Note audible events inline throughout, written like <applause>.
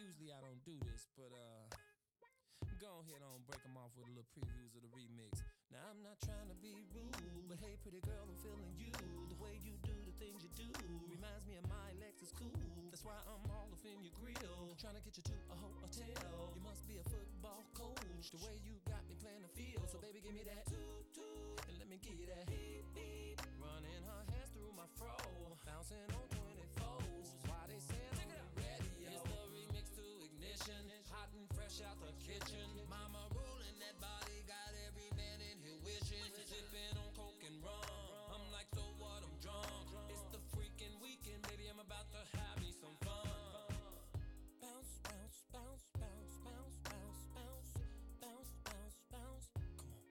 usually I don't do this, but uh, go ahead on break them off with a little previews of the remix. Now I'm not trying to be rude, but hey, pretty girl, I'm feeling you. The way you do the things you do reminds me of my Lexus cool. That's why I'm all up in your grill, trying to get you to a hotel. You must be a football coach. The way you got me playing the field, so baby, give me that toot toot and let me give you that beep beep. Running her hands through my fro, bouncing on 24s. Why they saying on the radio? It's the remix to ignition, hot and fresh out the kitchen. Mama ruling that body, got every man in here wishing. Sipping on coke and rum, I'm like so what? I'm drunk. It's the freaking weekend, baby. I'm about to have me some fun. Bounce, bounce, bounce, bounce, bounce, bounce, bounce, bounce, bounce, bounce. Come on.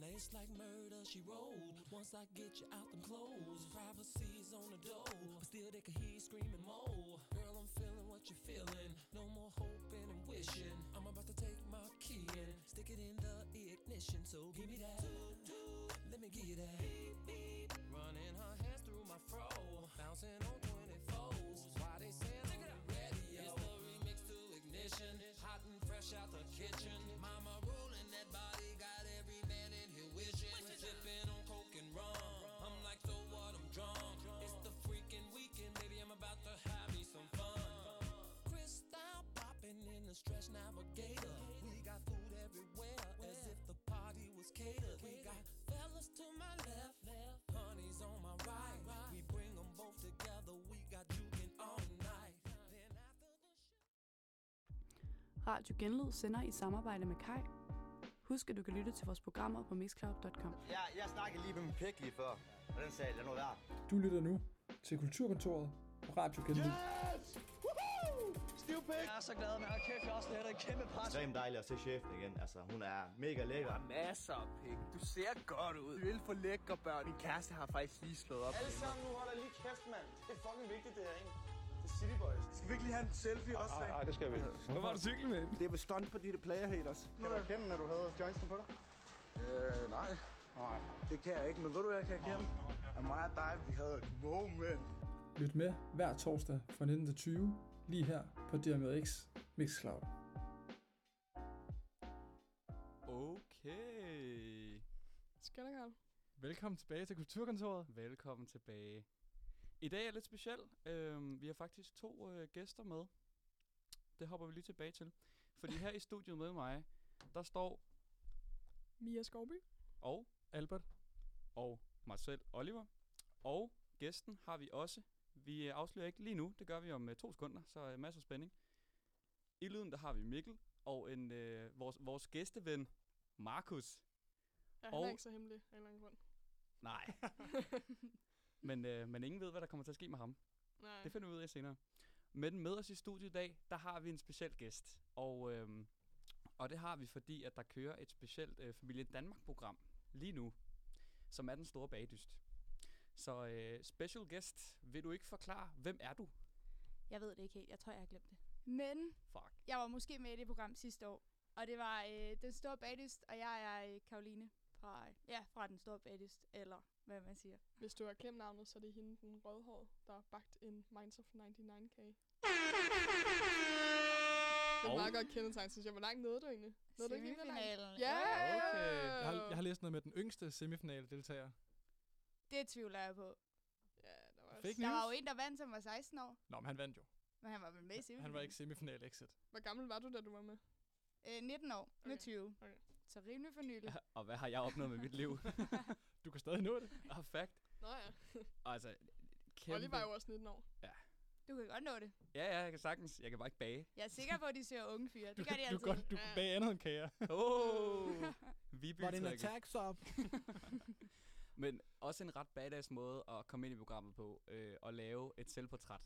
Now it's like murder, she rolled. Once I get you out them clothes, privacy's on the door. But still, they can hear you screaming, Mo. Girl, I'm feeling what you're feeling. No more hoping and wishing. I'm about to take my key and stick it in the ignition. So give me that. Toot, toot. Let me give you that. Beep, beep. Running her hands through my fro. Bouncing on 24s. Why they saying I'm radio? It's the remix to ignition. Hot and fresh out the kitchen. Mama ruling that body. Got every man in here wishing. Sipping on coke and rum. I'm like, so what? I'm drunk. It's the freaking weekend, baby. I'm about to have me some fun. Crystal popping in the stretch navigator. We got food everywhere, as if the party was catered. We got fellas to my left, honeys on my right. We bring them both together. We got juking all night. Then after the show. Radio Genlyd sender i samarbejde med Kai. Husk, at du kan lytte til vores programmer på mixcloud.com. Jeg, jeg snakkede lige med min pik lige før, og den sagde, lad nu være. Du lytter nu til Kulturkontoret på Radio Genlyd. Jeg er så glad, man. Og kæft, jeg har også lavet et kæmpe pres. Ekstremt dejligt at se chefen igen. Altså, hun er mega lækker. Masser af penge. Du ser godt ud. Du er for lækker, børn. Min kæreste har faktisk lige slået op. Alle sammen, nu holder lige kæft, mand. Det er fucking vigtigt, det her, ikke? Det er City Boys. Skal vi ikke lige have en selfie også? Ej, ej, Ah, det skal vi. Hvor var du cykel med? Det er vel stunt på dine player haters. Kan du erkende, når du havde joinsen på dig? Øh, nej. Nej, det kan jeg ikke. Men ved du, hvad jeg kan erkende? At mig og dig, vi havde et moment. Lyt med hver torsdag fra 19 til 20, lige her på DMX Mixcloud. Øh, Okay. Skal der, Carl? Velkommen tilbage til Kulturkontoret. Velkommen tilbage. I dag er lidt speciel. Øhm, vi har faktisk to øh, gæster med. Det hopper vi lige tilbage til. Fordi her i studiet med mig, der står Mia Skovby. og Albert og mig selv, Oliver. Og gæsten har vi også. Vi øh, afslører ikke lige nu. Det gør vi om øh, to sekunder, så øh, masser af spænding. I lyden, der har vi Mikkel og en, øh, vores, vores gæsteven, Markus. Ja, han Og- er ikke så hemmelig af en eller anden grund. Nej. men, øh, men ingen ved, hvad der kommer til at ske med ham. Mm. Nej. Det finder vi ud af senere. Men med os i studiet i dag, der har vi en speciel gæst. Og, øhm, og det har vi, fordi at der kører et specielt øh, Familie Danmark-program lige nu, som er den store bagdyst. Så øh, special guest, vil du ikke forklare, hvem er du? Jeg ved det ikke helt. Jeg tror, jeg har glemt det. Men Fuck. jeg var måske med i det program sidste år. Og det var øh, Den Store Bagdyst, og jeg er øh, Karoline fra, ja, fra Den Store Bagdyst, eller hvad man siger. Hvis du har klemt navnet, så er det hende, den rødhårede, der har bagt en Minds of 99k. Det er Og- meget godt kendetegn, synes jeg. Hvor langt nåede du egentlig? Nåede du ikke helt langt? Semifinalen. Øh, Ja! Okay. Jeg har, jeg har læst noget med den yngste semifinale-deltager. Det tvivler jeg på. Ja, der var også... Fake Der var jo news? en, der vandt, som var 16 år. Nå, men han vandt jo. Men han var vel med i semifinalen. Han var ikke semifinal-exit. Hvor gammel var du, da du var med? Øh, 19 år. Okay. Nu Okay. 20. Okay. Så rimelig for nylig. Og hvad har jeg opnået med mit liv? <laughs> Du kan stadig nå det. og fact. Nå ja, Altså, kæmpe... Olli var jo også 19 år. Du kan godt nå det. Ja, ja, jeg kan sagtens. Jeg kan bare ikke bage. Jeg er sikker på, at de søger unge fyre. Det gør de Du altid. kan, godt, du kan bage andet end kager. Oh, <laughs> Viby stop? <laughs> Men også en ret badass måde at komme ind i programmet på øh, og lave et selvportræt.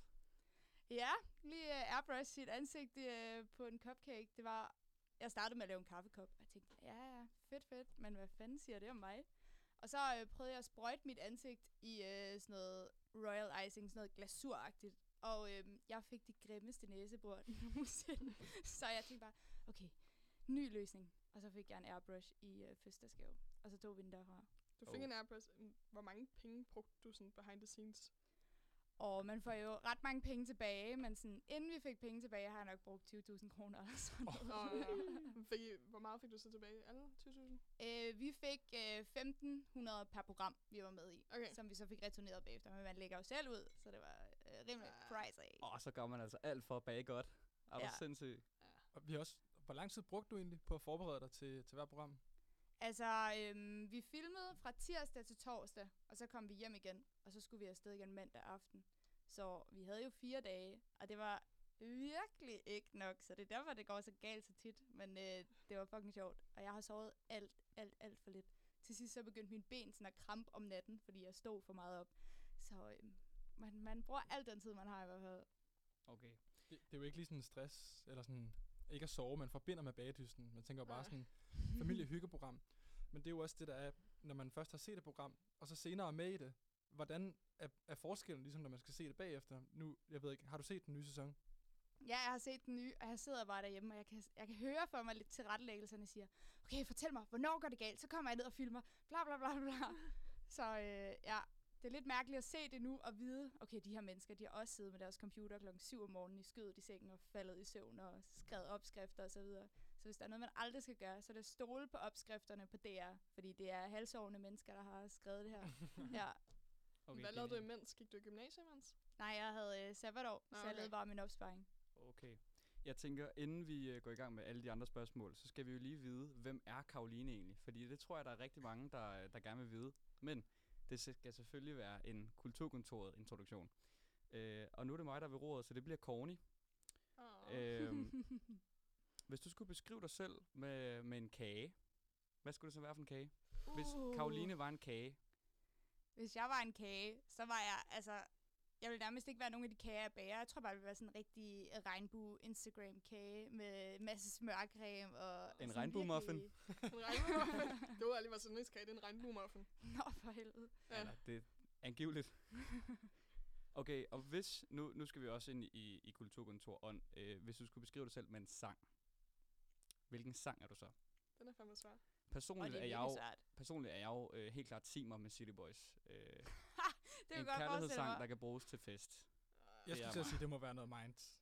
Ja, lige uh, airbrush sit ansigt uh, på en cupcake. Det var, jeg startede med at lave en kaffekop, og jeg tænkte, ja, ja, fedt, fedt, men hvad fanden siger det om mig? Og så øh, prøvede jeg at sprøjte mit ansigt i øh, sådan noget royal icing, sådan noget glasuragtigt. Og øh, jeg fik de grimmeste næsebord <laughs> nogensinde. så jeg tænkte bare, okay, ny løsning. Og så fik jeg en airbrush i øh, fødselsdagsgave. Og så tog vi den derfra. Du fik Oh. oh. en airbrush. Hvor mange penge brugte du sådan behind the scenes? Og man får jo ret mange penge tilbage, men sådan, inden vi fik penge tilbage, har jeg nok brugt 20.000 kroner eller sådan Og, noget. øh, <laughs> fik I, hvor meget fik du så tilbage? Alle 20.000? Øh, vi fik øh, 1.500 per program, vi var med i, Okay. som vi så fik returneret bagefter. Men man lægger jo selv ud, så det var øh, rimelig pricey. Og så gør man altså alt for at bage godt. Er du Ja. sindssyg? Og vi har også, hvor lang tid brugte du egentlig på at forberede dig til, til hver program? Altså, øhm, vi filmede fra tirsdag til torsdag, og så kom vi hjem igen, og så skulle vi afsted igen mandag aften. Så vi havde jo fire dage, og det var virkelig ikke nok, så det er derfor, det går så galt så tit, men øh, det var fucking sjovt, og jeg har sovet alt, alt, alt for lidt. Til sidst så begyndte mine ben sådan at krampe om natten, fordi jeg stod for meget op. Så øhm, man, man bruger al den tid, man har i hvert fald. Okay. Det, det er jo ikke lige sådan stress, eller sådan, ikke at sove, man forbinder med bagedysten. Man tænker jo bare Nej. sådan, familiehyggeprogram. <laughs> Men det er jo også det, der er, når man først har set et program, og så senere er med i det, hvordan er, er forskellen, ligesom når man skal se det bagefter? Nu, jeg ved ikke, har du set den nye sæson? Ja, jeg har set den nye, og jeg sidder bare derhjemme, og jeg kan, jeg kan høre for mig lidt til rettelæggelserne siger, okay, fortæl mig, hvornår går det galt? Så kommer jeg ned og filmer, bla bla bla <laughs> bla. Så øh, ja, det er lidt mærkeligt at se det nu og vide, okay, de her mennesker, de har også siddet med deres computer klokken 7 om morgenen i skødet i sengen og faldet i søvn og skrevet opskrifter osv. Så, videre. så hvis der er noget, man aldrig skal gøre, så er det at stole på opskrifterne på DR, fordi det er halvsovende mennesker, der har <laughs> skrevet det her. ja. Okay, Hvad lavede du imens? Gik du i gymnasiet imens? Nej, jeg havde øh, sabbatår, Nå, så jeg okay. lavede bare min opsparing. Okay. Jeg tænker, inden vi øh, går i gang med alle de andre spørgsmål, så skal vi jo lige vide, hvem er Karoline egentlig? Fordi det tror jeg, der er rigtig mange, der, øh, der gerne vil vide. Men det se- skal selvfølgelig være en kulturkontoret introduktion. Øh, og nu er det mig, der er ved roret, så det bliver corny. Oh. <laughs> Øhm, hvis du skulle beskrive dig selv med, med en kage, hvad skulle det så være for en kage? Hvis Uh. Uh. Karoline var en kage, Hvis jeg var en kage, så var jeg, altså, jeg ville nærmest ikke være nogen af de kager, jeg bager. Jeg tror bare, jeg ville være sådan en rigtig øh, regnbue-Instagram-kage med masse smørcreme og... en sådan regnbuemuffin? virkelig- en regnbuemuffin. det var lige vores yndlingskage, det er en regnbuemuffin. <laughs> Nå, for helvede. Ja. Eller det <laughs> angiveligt. Okay, og hvis, nu, nu skal vi også ind i, i kulturkontor ånd, øh, hvis du skulle beskrive dig selv med en sang, hvilken sang er du så? Den er fandme svær. Og Personligt det er, er jeg virkelig jo, svært. personligt er jeg jo øh, helt klart timer med City Boys. Øh, en Det kan jeg godt forestille kærlighedssang, mig. der kan bruges til fest. Jeg er skulle til at mig. sige, det må være noget mind.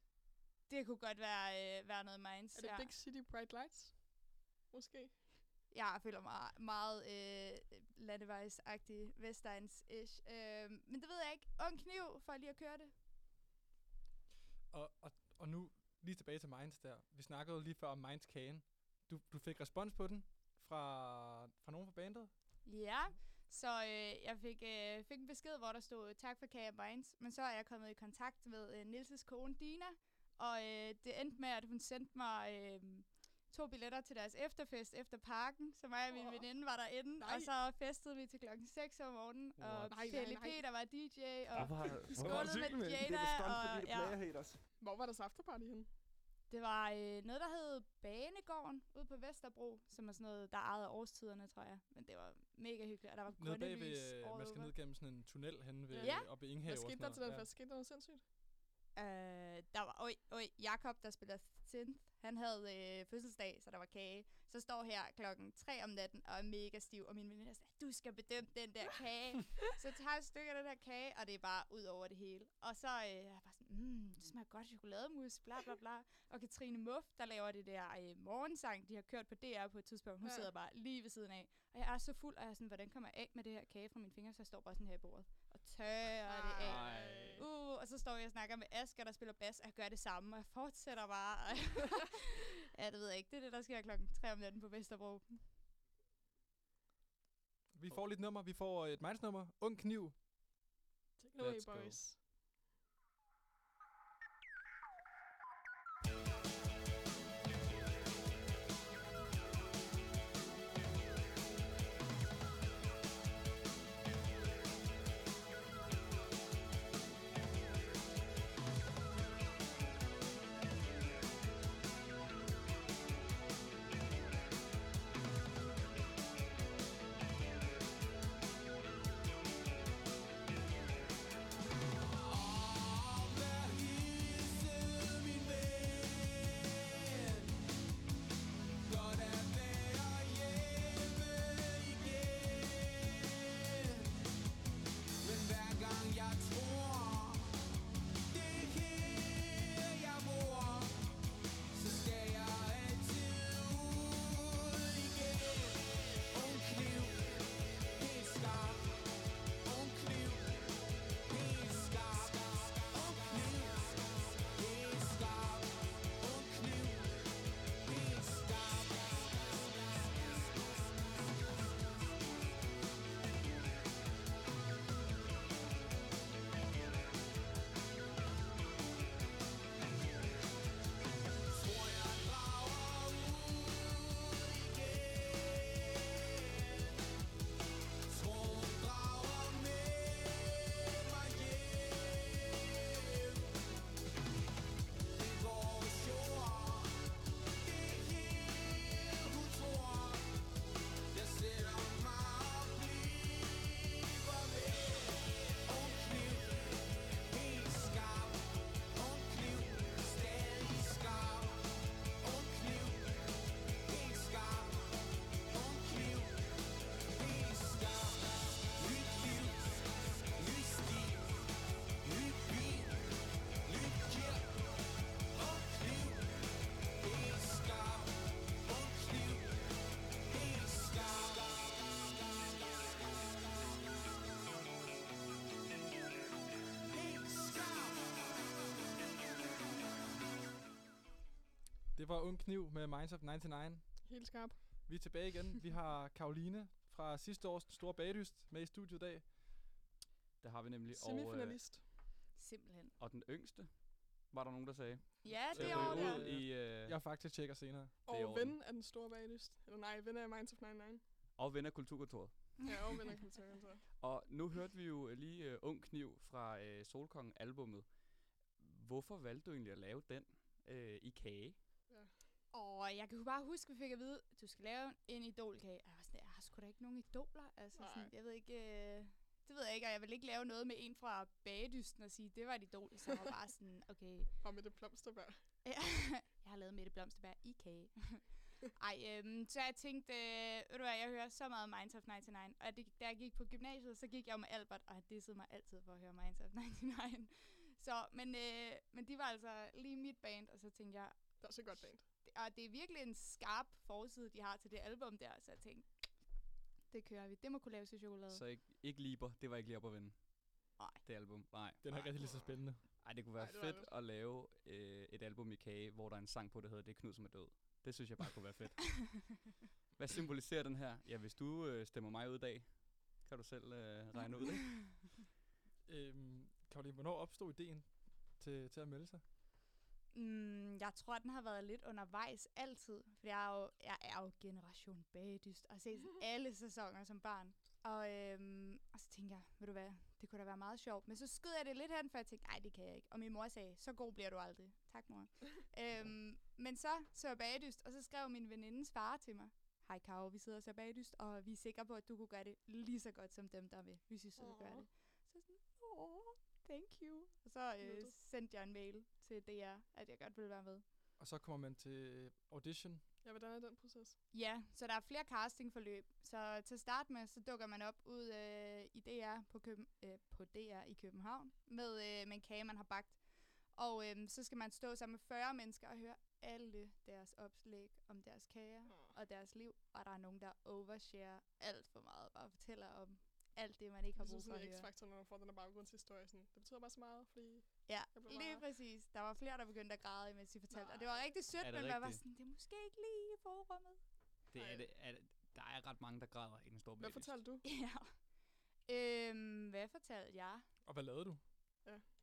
Det kunne godt være, øh, være noget minds. Er det ja. Big City Bright Lights? Måske. Jeg føler mig meget øh, landevejsagtig, vestegns-ish. Øh, men det ved jeg ikke. Ung kniv, for lige at køre det. Og, og, og nu lige tilbage til Minds der. Vi snakkede jo lige før om Minds kagen. Du, du fik respons på den fra, fra nogen fra bandet? Ja, så øh, jeg fik, øh, fik en besked, hvor der stod, tak for Kage Vines, men så er jeg kommet i kontakt med øh, Nilses kone Dina, og øh, det endte med, at hun sendte mig øh, to billetter til deres efterfest efter parken, så mig og min Åh. veninde var derinde, Nej. og så festede vi til klokken 6 om morgenen, og What? Nej, nej, Pelle nej. Peter var DJ, og <laughs> Hvorfor har vi hvorfor har skålede med cyklen- Jada, Det er bestemt, fordi og det plager ja, haters. Hvor var deres afterparty henne? det var øh, noget, der hed Banegården ude på Vesterbro, som er sådan noget, der ejede årstiderne, tror jeg, men det var mega hyggeligt, og der var Nede grønne bag lys ved, øh, året man skal over. ned gennem sådan en tunnel hen ved, Ja. ja. oppe i Inghave. Hvad og skete sådan der til den noget. fest? Skete der noget sindssygt? Øh, der var, oj, oj, Jakob, der spiller synth, han havde øh, fødselsdag, så der var kage. Så står her klokken 3 om natten og er mega stiv, og min veninde er sådan, du skal bedømme den der kage. så tager jeg et stykke af den her kage, og det er bare ud over det hele. Og så øh, er jeg bare sådan, mm, det smager godt af chokolademus, bla bla bla. Og Katrine Muff, der laver det der øh, morgensang, de har kørt på DR på et tidspunkt, hun Ja. ja. sidder bare lige ved siden af. Og jeg er så fuld, og jeg er sådan, hvordan kommer jeg af med det her kage fra mine fingre, så jeg står bare sådan her i bordet og tørrer det af. Ej. Uh, og så står jeg og snakker med Asger, der spiller bas, og jeg gør det samme, og jeg fortsætter bare. og ja, det ved jeg ikke. Det er det, der sker klokken 3 om natten på Vesterbro. Vi får lidt nummer. Vi får et Minds nummer. Ung kniv. Take it away, Let's go. boys. Thank Det var Ung Kniv med Minds of 99. Helt skarp. Vi er tilbage igen. Vi har Karoline fra sidste års Store Bagdyst med i studiet i dag. Det har vi nemlig. Semifinalist. Og, Simpelthen. øh, og den yngste, var der nogen, der sagde. Ja, til at det ryge år ud der. I, øh, Jeg faktisk tjekker senere. i Og orden. ven af den store baglyst. Eller nej, ven af Minds of 99. og ven af Kulturkontoret. Ja, og ven af kulturen så. Og nu hørte vi jo lige øh, Ung Kniv fra øh, Solkongen-albummet. Hvorfor valgte du egentlig at lave den øh, i kage? Og jeg kan bare huske, at vi fik at vide, du skal lave en idolkage. Og jeg var sådan, jeg har sgu da ikke nogen idoler. Altså, Nej. sådan, jeg ved ikke, øh, det ved jeg ikke, og jeg vil ikke lave noget med en fra bagedysten og sige, det var et idol. Så jeg var bare sådan, okay, Og med det plomsterbær. Ja, <laughs> jeg har lavet Mette Blomsterberg i kage. Ej, øhm, så jeg tænkte, øh, ved du hvad, jeg hører så meget Minds of 99, og det, da jeg gik på gymnasiet, så gik jeg jo med Albert, og han dissede mig altid for at høre Minds of 99. <laughs> Så, men, øh, men de var altså lige mit band, og så tænkte jeg, Det er også et godt band. det- og det er virkelig en skarp forside, de har til det album der, så jeg tænkte, det kører vi, det må kunne laves til chokolade. Så ikke, ikke Liber, det var ikke lige op at vende. Nej. Det album, nej. Den er ikke rigtig lige så spændende. Ej, det kunne være Ej, det var fedt det. at lave øh, et album i kage, hvor der er en sang på, der hedder Det er Knud, som er død. Det synes jeg bare kunne være fedt. Hvad symboliserer den her? Ja, hvis du øh, stemmer mig ud i dag, kan du selv øh, regne ud, ikke? Øhm, Karoline, hvornår opstod ideen til, til at melde sig? Mm, jeg tror, den har været lidt undervejs altid. For jeg er jo, jeg er jo generation bagdyst og har set sådan alle sæsoner som barn. Og, øhm, og så tænkte jeg, ved du hvad, det kunne da være meget sjovt. Men så skød jeg det lidt hen, for jeg tænkte, nej, det kan jeg ikke. Og min mor sagde, så god bliver du aldrig. Tak, mor. øhm, men så så jeg bagdyst, og så skrev min venindes far til mig. Hej Karo, vi sidder og ser bagdyst, og vi er sikre på, at du kunne gøre det lige så godt som dem, der er med. Vi synes, du kan gøre Åh. det. Så sådan, åh, thank you. Og så øh, Nuttet. sendte jeg en mail til DR, at jeg godt ville være med. Og så kommer man til audition. Ja, hvordan er den proces? Ja, så der er flere castingforløb. Så til at starte med, så dukker man op ud øh, i DR på, Køben, øh, på DR i København med, øh, med en kage, man har bagt. Og øh, så skal man stå sammen med 40 mennesker og høre alle deres opslag om deres kager og deres liv. Og der er nogen, der overshare alt for meget og fortæller om alt det, man ikke har Jeg brug synes for at sådan, at høre. X-Factor, når man får den der baggrundshistorie, sådan, det betyder bare så meget, fordi Ja, Jeg blev lige meget- præcis. Der var flere, der begyndte at græde, mens de fortalte. Og det Nej. var rigtig sødt, Er men det man var rigtigt? sådan, det er måske ikke lige i forrummet. Det Ej. er det, er det, der er ret mange, der græder i den store Hvad bagdyst. fortalte du? ja. Øhm, hvad fortalte jeg? Og hvad lavede du?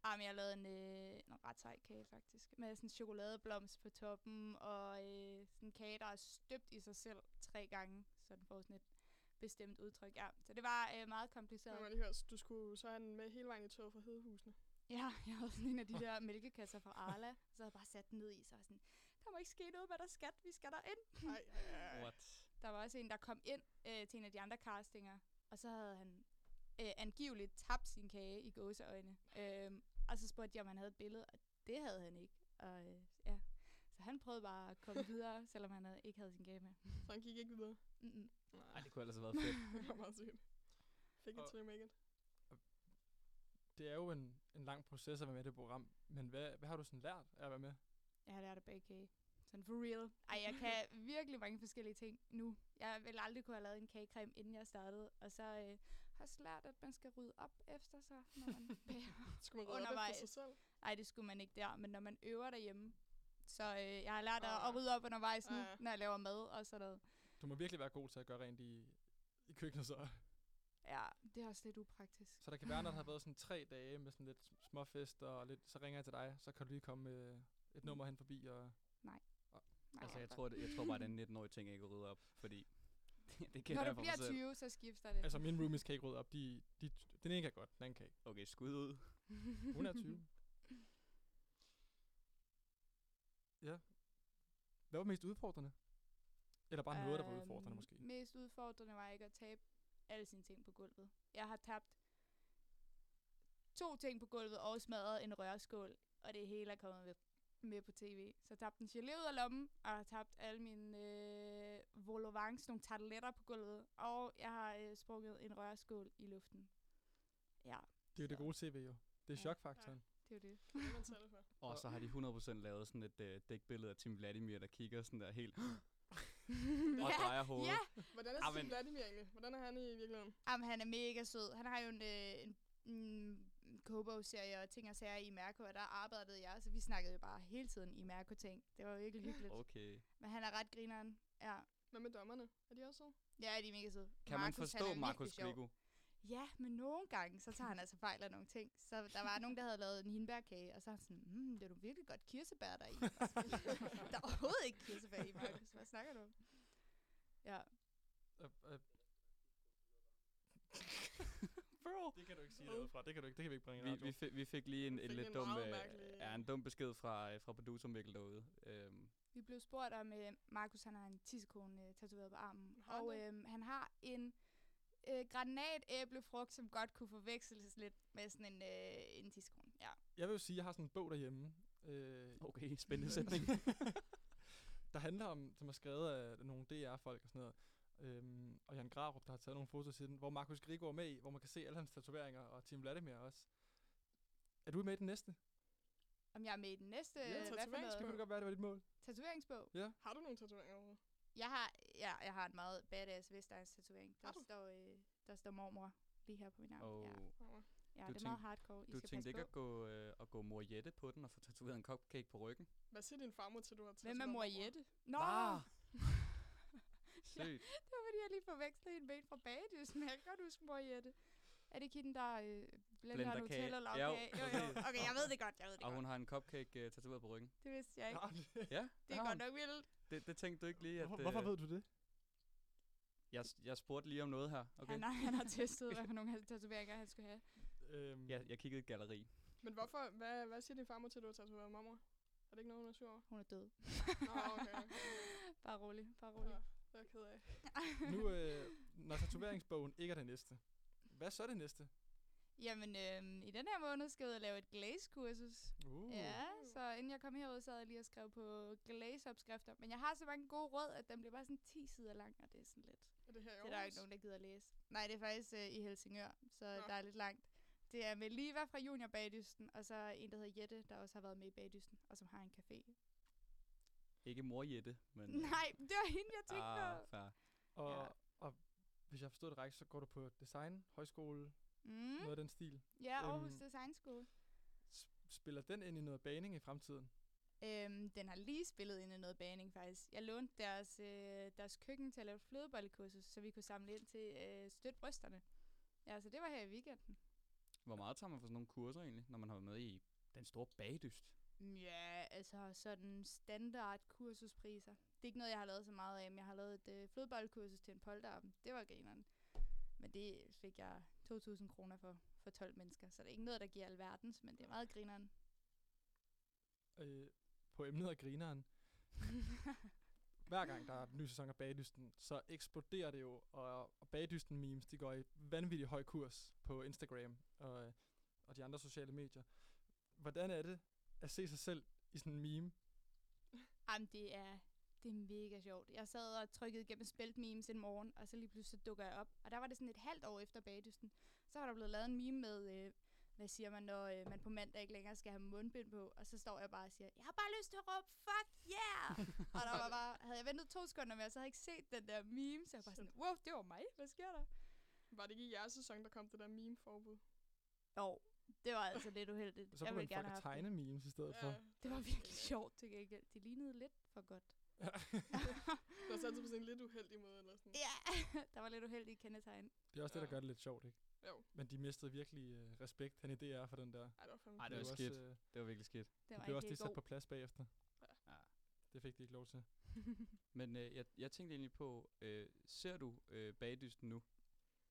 Jamen, jeg lavede en, øh, en ret sej kage, faktisk. Med sådan chokoladeblomst på toppen, og øh, sådan en kage, der er støbt i sig selv tre gange, så den får sådan et bestemt udtryk. Ja, så det var øh, meget Jeg må kompliceret. lige høre, du skulle så have den med hele vejen i toget fra <laughs> Hedehusene. Ja, jeg havde sådan en af de der mælkekasser fra Arla, og så havde jeg bare sat den ned i, så var jeg sådan, der må ikke ske noget med der skat, vi skal derind. Nej, What? Der var også en, der kom ind øh, til en af de andre castinger, og så havde han øh, angiveligt tabt sin kage i gåseøjne. Øh, og så spurgte de, om han havde et billede, og det havde han ikke. Og, øh, ja. Så han prøvede bare at <laughs> komme videre, selvom han havde, ikke havde sin kage med. så han gik ikke videre. Mm-mm. Ej, det kunne ellers have været fedt. <laughs> Det var meget sygt. Fik et Og- til make it. Det er jo en, en lang proces at være med i det program. Men hvad, hvad har du sådan lært af at være med? Jeg har lært at bage kage. Sådan for real. Ej, jeg kan virkelig mange forskellige ting nu. Jeg ville aldrig kunne have lavet en kagecreme, inden jeg startede. Og så øh, har jeg også lært, at man skal rydde op efter sig, når <laughs> man bager. Skulle man redde op Undervejs. efter sig selv? Nej, det skulle man ikke der, men når man øver derhjemme. Så øh, jeg har lært at, Ah. at rydde op undervejs nu, Ah. når jeg laver mad og sådan noget. Du må virkelig være god til at gøre rent i, i køkkenet så. Ja, det er også lidt upraktisk. Så der kan være, når der har været sådan tre dage med sådan lidt småfest, og lidt, så ringer jeg til dig, så kan du lige komme med et nummer hen forbi. Og Nej, Altså, jeg hvor- tror, det, jeg tror bare, den 19-årige ting, jeg ikke rydder op, fordi <laughs> det, det kan Når jeg du for mig bliver selv. 20, så skifter det. altså, mine roomies kan ikke rydde op. De, de, den ene kan godt, den anden kan ikke. Okay, skud ud. Hun er <laughs> 20. ja. Hvad var mest udfordrende? Eller bare noget, der var udfordrende Øhm, måske? Mest udfordrende var ikke at tabe alle sine ting på gulvet. Jeg har tabt to ting på gulvet og smadret en rørskål, og det hele er kommet med, med på tv. Så jeg tabte en gelé ud af lommen, og jeg har tabt alle mine øh, volovangs, nogle tarteletter på gulvet, og jeg har øh, sprunget en rørskål i luften. Ja, Det er jo det gode tv jo. Det er Ja. chokfaktoren. det er jo det. Det er man selv for. Og så har de 100% lavet sådan et øh, dækbillede af Tim Vladimir, der kigger sådan der helt og drejer hovedet. ja, Hvordan er Ah, Steve men- Vladimir egentlig? Hvordan er han i virkeligheden? Jamen, han er mega sød. Han har jo en, øh, en, en Kobo-serier og ting og sager i Mærko, og der arbejdede jeg, så vi snakkede jo bare hele tiden i Mærko-ting. Det var virkelig hyggeligt. Okay. Men han er ret grineren, ja. Hvad med dommerne? Er de også søde? Ja, de er mega søde. Kan man Markus, han er forstå virkelig Markus sjov. Grigo? Ja, men nogle gange, så tager han altså fejl af nogle ting. Så der var nogen, der havde lavet en hindbærkage, og så er han sådan, mm, det er du virkelig godt kirsebær der <laughs> er i. Og så var jeg sådan, der er overhovedet ikke kirsebær i, Markus. Hvad snakker du om? Ja. Øh, øh, <laughs> Bro. Det kan du ikke sige derude fra. Det kan du ikke. Det kan vi ikke bringe i Vi, radioen. vi, fik, vi fik lige en, en fik lidt en dum, meget øh, mærkelig- ja, en dum besked fra, øh, fra producer Mikkel derude. Øhm, Vi blev spurgt om, øh, Markus han har en tissekone øh, tatoveret på armen, Har han og det? øh, han har en øh, granatæblefrugt, som godt kunne forveksles lidt med sådan en, øh, en tissekone. Ja. Jeg vil jo sige, at jeg har sådan en bog derhjemme, øh, okay, <laughs> spændende sætning. der handler om, som er skrevet af nogle DR-folk og sådan noget. Øhm, og Jan Grarup, der har taget nogle fotos siden, hvor Markus Grigo er med i, hvor man kan se alle hans tatoveringer, og Tim Vladimir også. Er du med i den næste? Om jeg er med i den næste, Ja, øh, hvad for tatoveringsbog. Det kunne noget? det godt være, det var dit mål. Tatoveringsbog. Har du nogle tatoveringer overhovedet? Jeg har, ja, jeg har en meget badass Vestegns tatovering. Der Har du? står, øh, der står mormor lige her på min arm. Og Ja, Kommer. ja Du det er meget tænk- hardcore. I du skal tænkte passe ikke på. at gå, øh, at gå Moriette på den og få tatoveret en cupcake på ryggen? Hvad siger din farmor til, du har Hvem er tatoveret mor mormor? Jette? Nå, Ah! <laughs> Ja. Sygt. det var fordi, jeg lige forvekslede en ben fra bagedysten. Jeg kan godt huske mor Jette. Er det kitten, der øh, blender Blender en hotel kage. og Jo, laver kage? Jo, jo. præcis. Okay, jeg ved det godt, jeg ved det Og hun godt. har en cupcake øh, tatoveret på ryggen. Det vidste jeg ikke. Ja, det er har godt hun. nok vildt. Det, det tænkte du ikke lige, at... øh, Hvorfor, hvorfor ved du det? Jeg, s- jeg spurgte lige om noget her, okay? Han, har, han har <laughs> testet, hvad for nogle af hans tatoveringer, han skulle have. Øhm, Jeg, jeg kiggede i et galleri. Men hvorfor? Hvad, hvad siger din farmor til, du har tatoveret mormor? Er det ikke noget, hun er sur <laughs> over? Hun er død. Nå, okay. bare rolig, bare rolig. Rolig. Det er jeg ked af. <laughs> nu, øh, når tatoveringsbogen ikke er det næste, hvad så er det næste? Jamen, øhm, i den her måned skal jeg ud og lave et glaze-kursus. Uh. Ja, så inden jeg kom herud, sad jeg lige og skrev på glaze-opskrifter. Men jeg har så mange gode råd, at den bliver bare sådan 10 sider lang, og det er sådan lidt... Er det her i Det er der jo Aarhus? ikke nogen, der gider læse. Nej, det er faktisk øh, i Helsingør, så Nå. der er lidt langt. Det er med Liva fra Junior Bagdysten, og så en, der hedder Jette, der også har været med i Bagdysten, og som har en café. Ikke Moriette, men... øh, Nej, det var hende, jeg tænkte Ah, på. fair. Og, Ja. og hvis jeg forstod det rigtigt, så går du på design, højskole, mm. noget Mm. af den stil. Ja, Aarhus Øhm. Design School. S- spiller den ind i noget baning i fremtiden? Øhm, den har lige spillet ind i noget baning, faktisk. Jeg lånte deres, øh, deres køkken til at lave flødebollekursus, så vi kunne samle ind til øh, støt brysterne. Ja, så det var her i weekenden. Hvor meget tager man for sådan nogle kurser egentlig, når man har været med i den store bagdyst? Mm, Ja, altså sådan standard kursuspriser. Det er ikke noget, jeg har lavet så meget af, men jeg har lavet et øh, flødebollekursus til en polterappen. Det var grineren. Men det fik jeg 2.000 kroner for, for 12 mennesker, så det er ikke noget, der giver alverdens, men det er meget grineren. øh, på emnet af <laughs> grineren. Hver gang der er en ny sæson af Bagdysten, så eksploderer det jo, og, og Bagdysten-memes, de går i vanvittig høj kurs på Instagram og, øh, og de andre sociale medier. Hvordan er det at se sig selv i sådan en meme? Jamen, det er, det er mega sjovt. Jeg sad og trykkede igennem spelt memes en morgen, og så lige pludselig så dukker jeg op. Og der var det sådan et halvt år efter bagdysten. Så var der blevet lavet en meme med, øh, hvad siger man, når øh, man på mandag ikke længere skal have mundbind på. Og så står jeg bare og siger, jeg har bare lyst til at råbe, fuck yeah! og der var bare, havde jeg ventet to sekunder med, og så havde jeg ikke set den der meme. Så jeg var bare sådan, wow, det var mig, hvad sker der? Var det ikke i jeres sæson, der kom det der meme-forbud? Jo, det var altså lidt uheldigt. Så kan man ville folk have at haft tegne det. memes i stedet for. Det var virkelig sjovt til gengæld. De lignede lidt for <laughs> godt. <laughs> Det var så altid på sådan en lidt uheldig måde, eller sådan. Ja, der var lidt uheldige kendetegn. Det er også det, der Ja. gør det lidt sjovt, ikke? Jo. Men de mistede virkelig øh, respekt, han i DR, for den der. Ej, det var fandme. Ej, det blev var også, skidt. øh, Det var virkelig skidt. Det var De blev ikke også lige helt sat god. på plads bagefter. Ja. Det fik de ikke lov til. Men øh, jeg, jeg tænkte egentlig på, øh, ser du øh, bagdysten nu?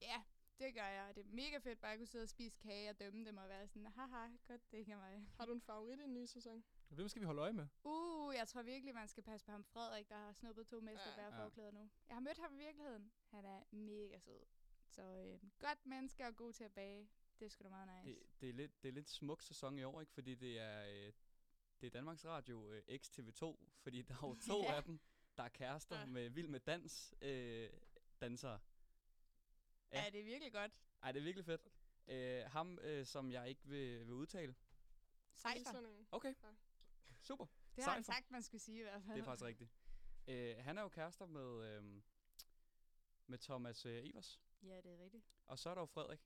Ja, det gør jeg. og Det er mega fedt bare at kunne sidde og spise kage og dømme dem og være sådan, haha, godt det ikke er mig. Har du en favorit i den nye sæson? Hvem skal vi holde øje med? Uh, jeg tror virkelig, man skal passe på ham Frederik, der har snuppet to mester hver Ja. forklæder nu. Jeg har mødt ham i virkeligheden. Han er mega sød. Så øh, godt menneske og god til at bage. Det er sgu da meget nice. Det, det, er lidt, det er lidt smuk sæson i år, ikke? Fordi det er, øh, det er Danmarks Radio øh, XTV2, fordi der er jo to <laughs> Ja. af dem, der er kærester Ja. med Vild med Dans øh, dansere. ja. ja. det er virkelig godt. Ej, det er virkelig fedt. Øh, ham, øh, som jeg ikke vil, vil udtale. Cypher. Islændingen. Okay, Ja. super. Det har han Cypher. sagt, man skulle sige i hvert fald. Det er faktisk rigtigt. Øh, han er jo kærester med, øh, med Thomas øh, Evers. Ja, det er rigtigt. Og så er der jo Frederik,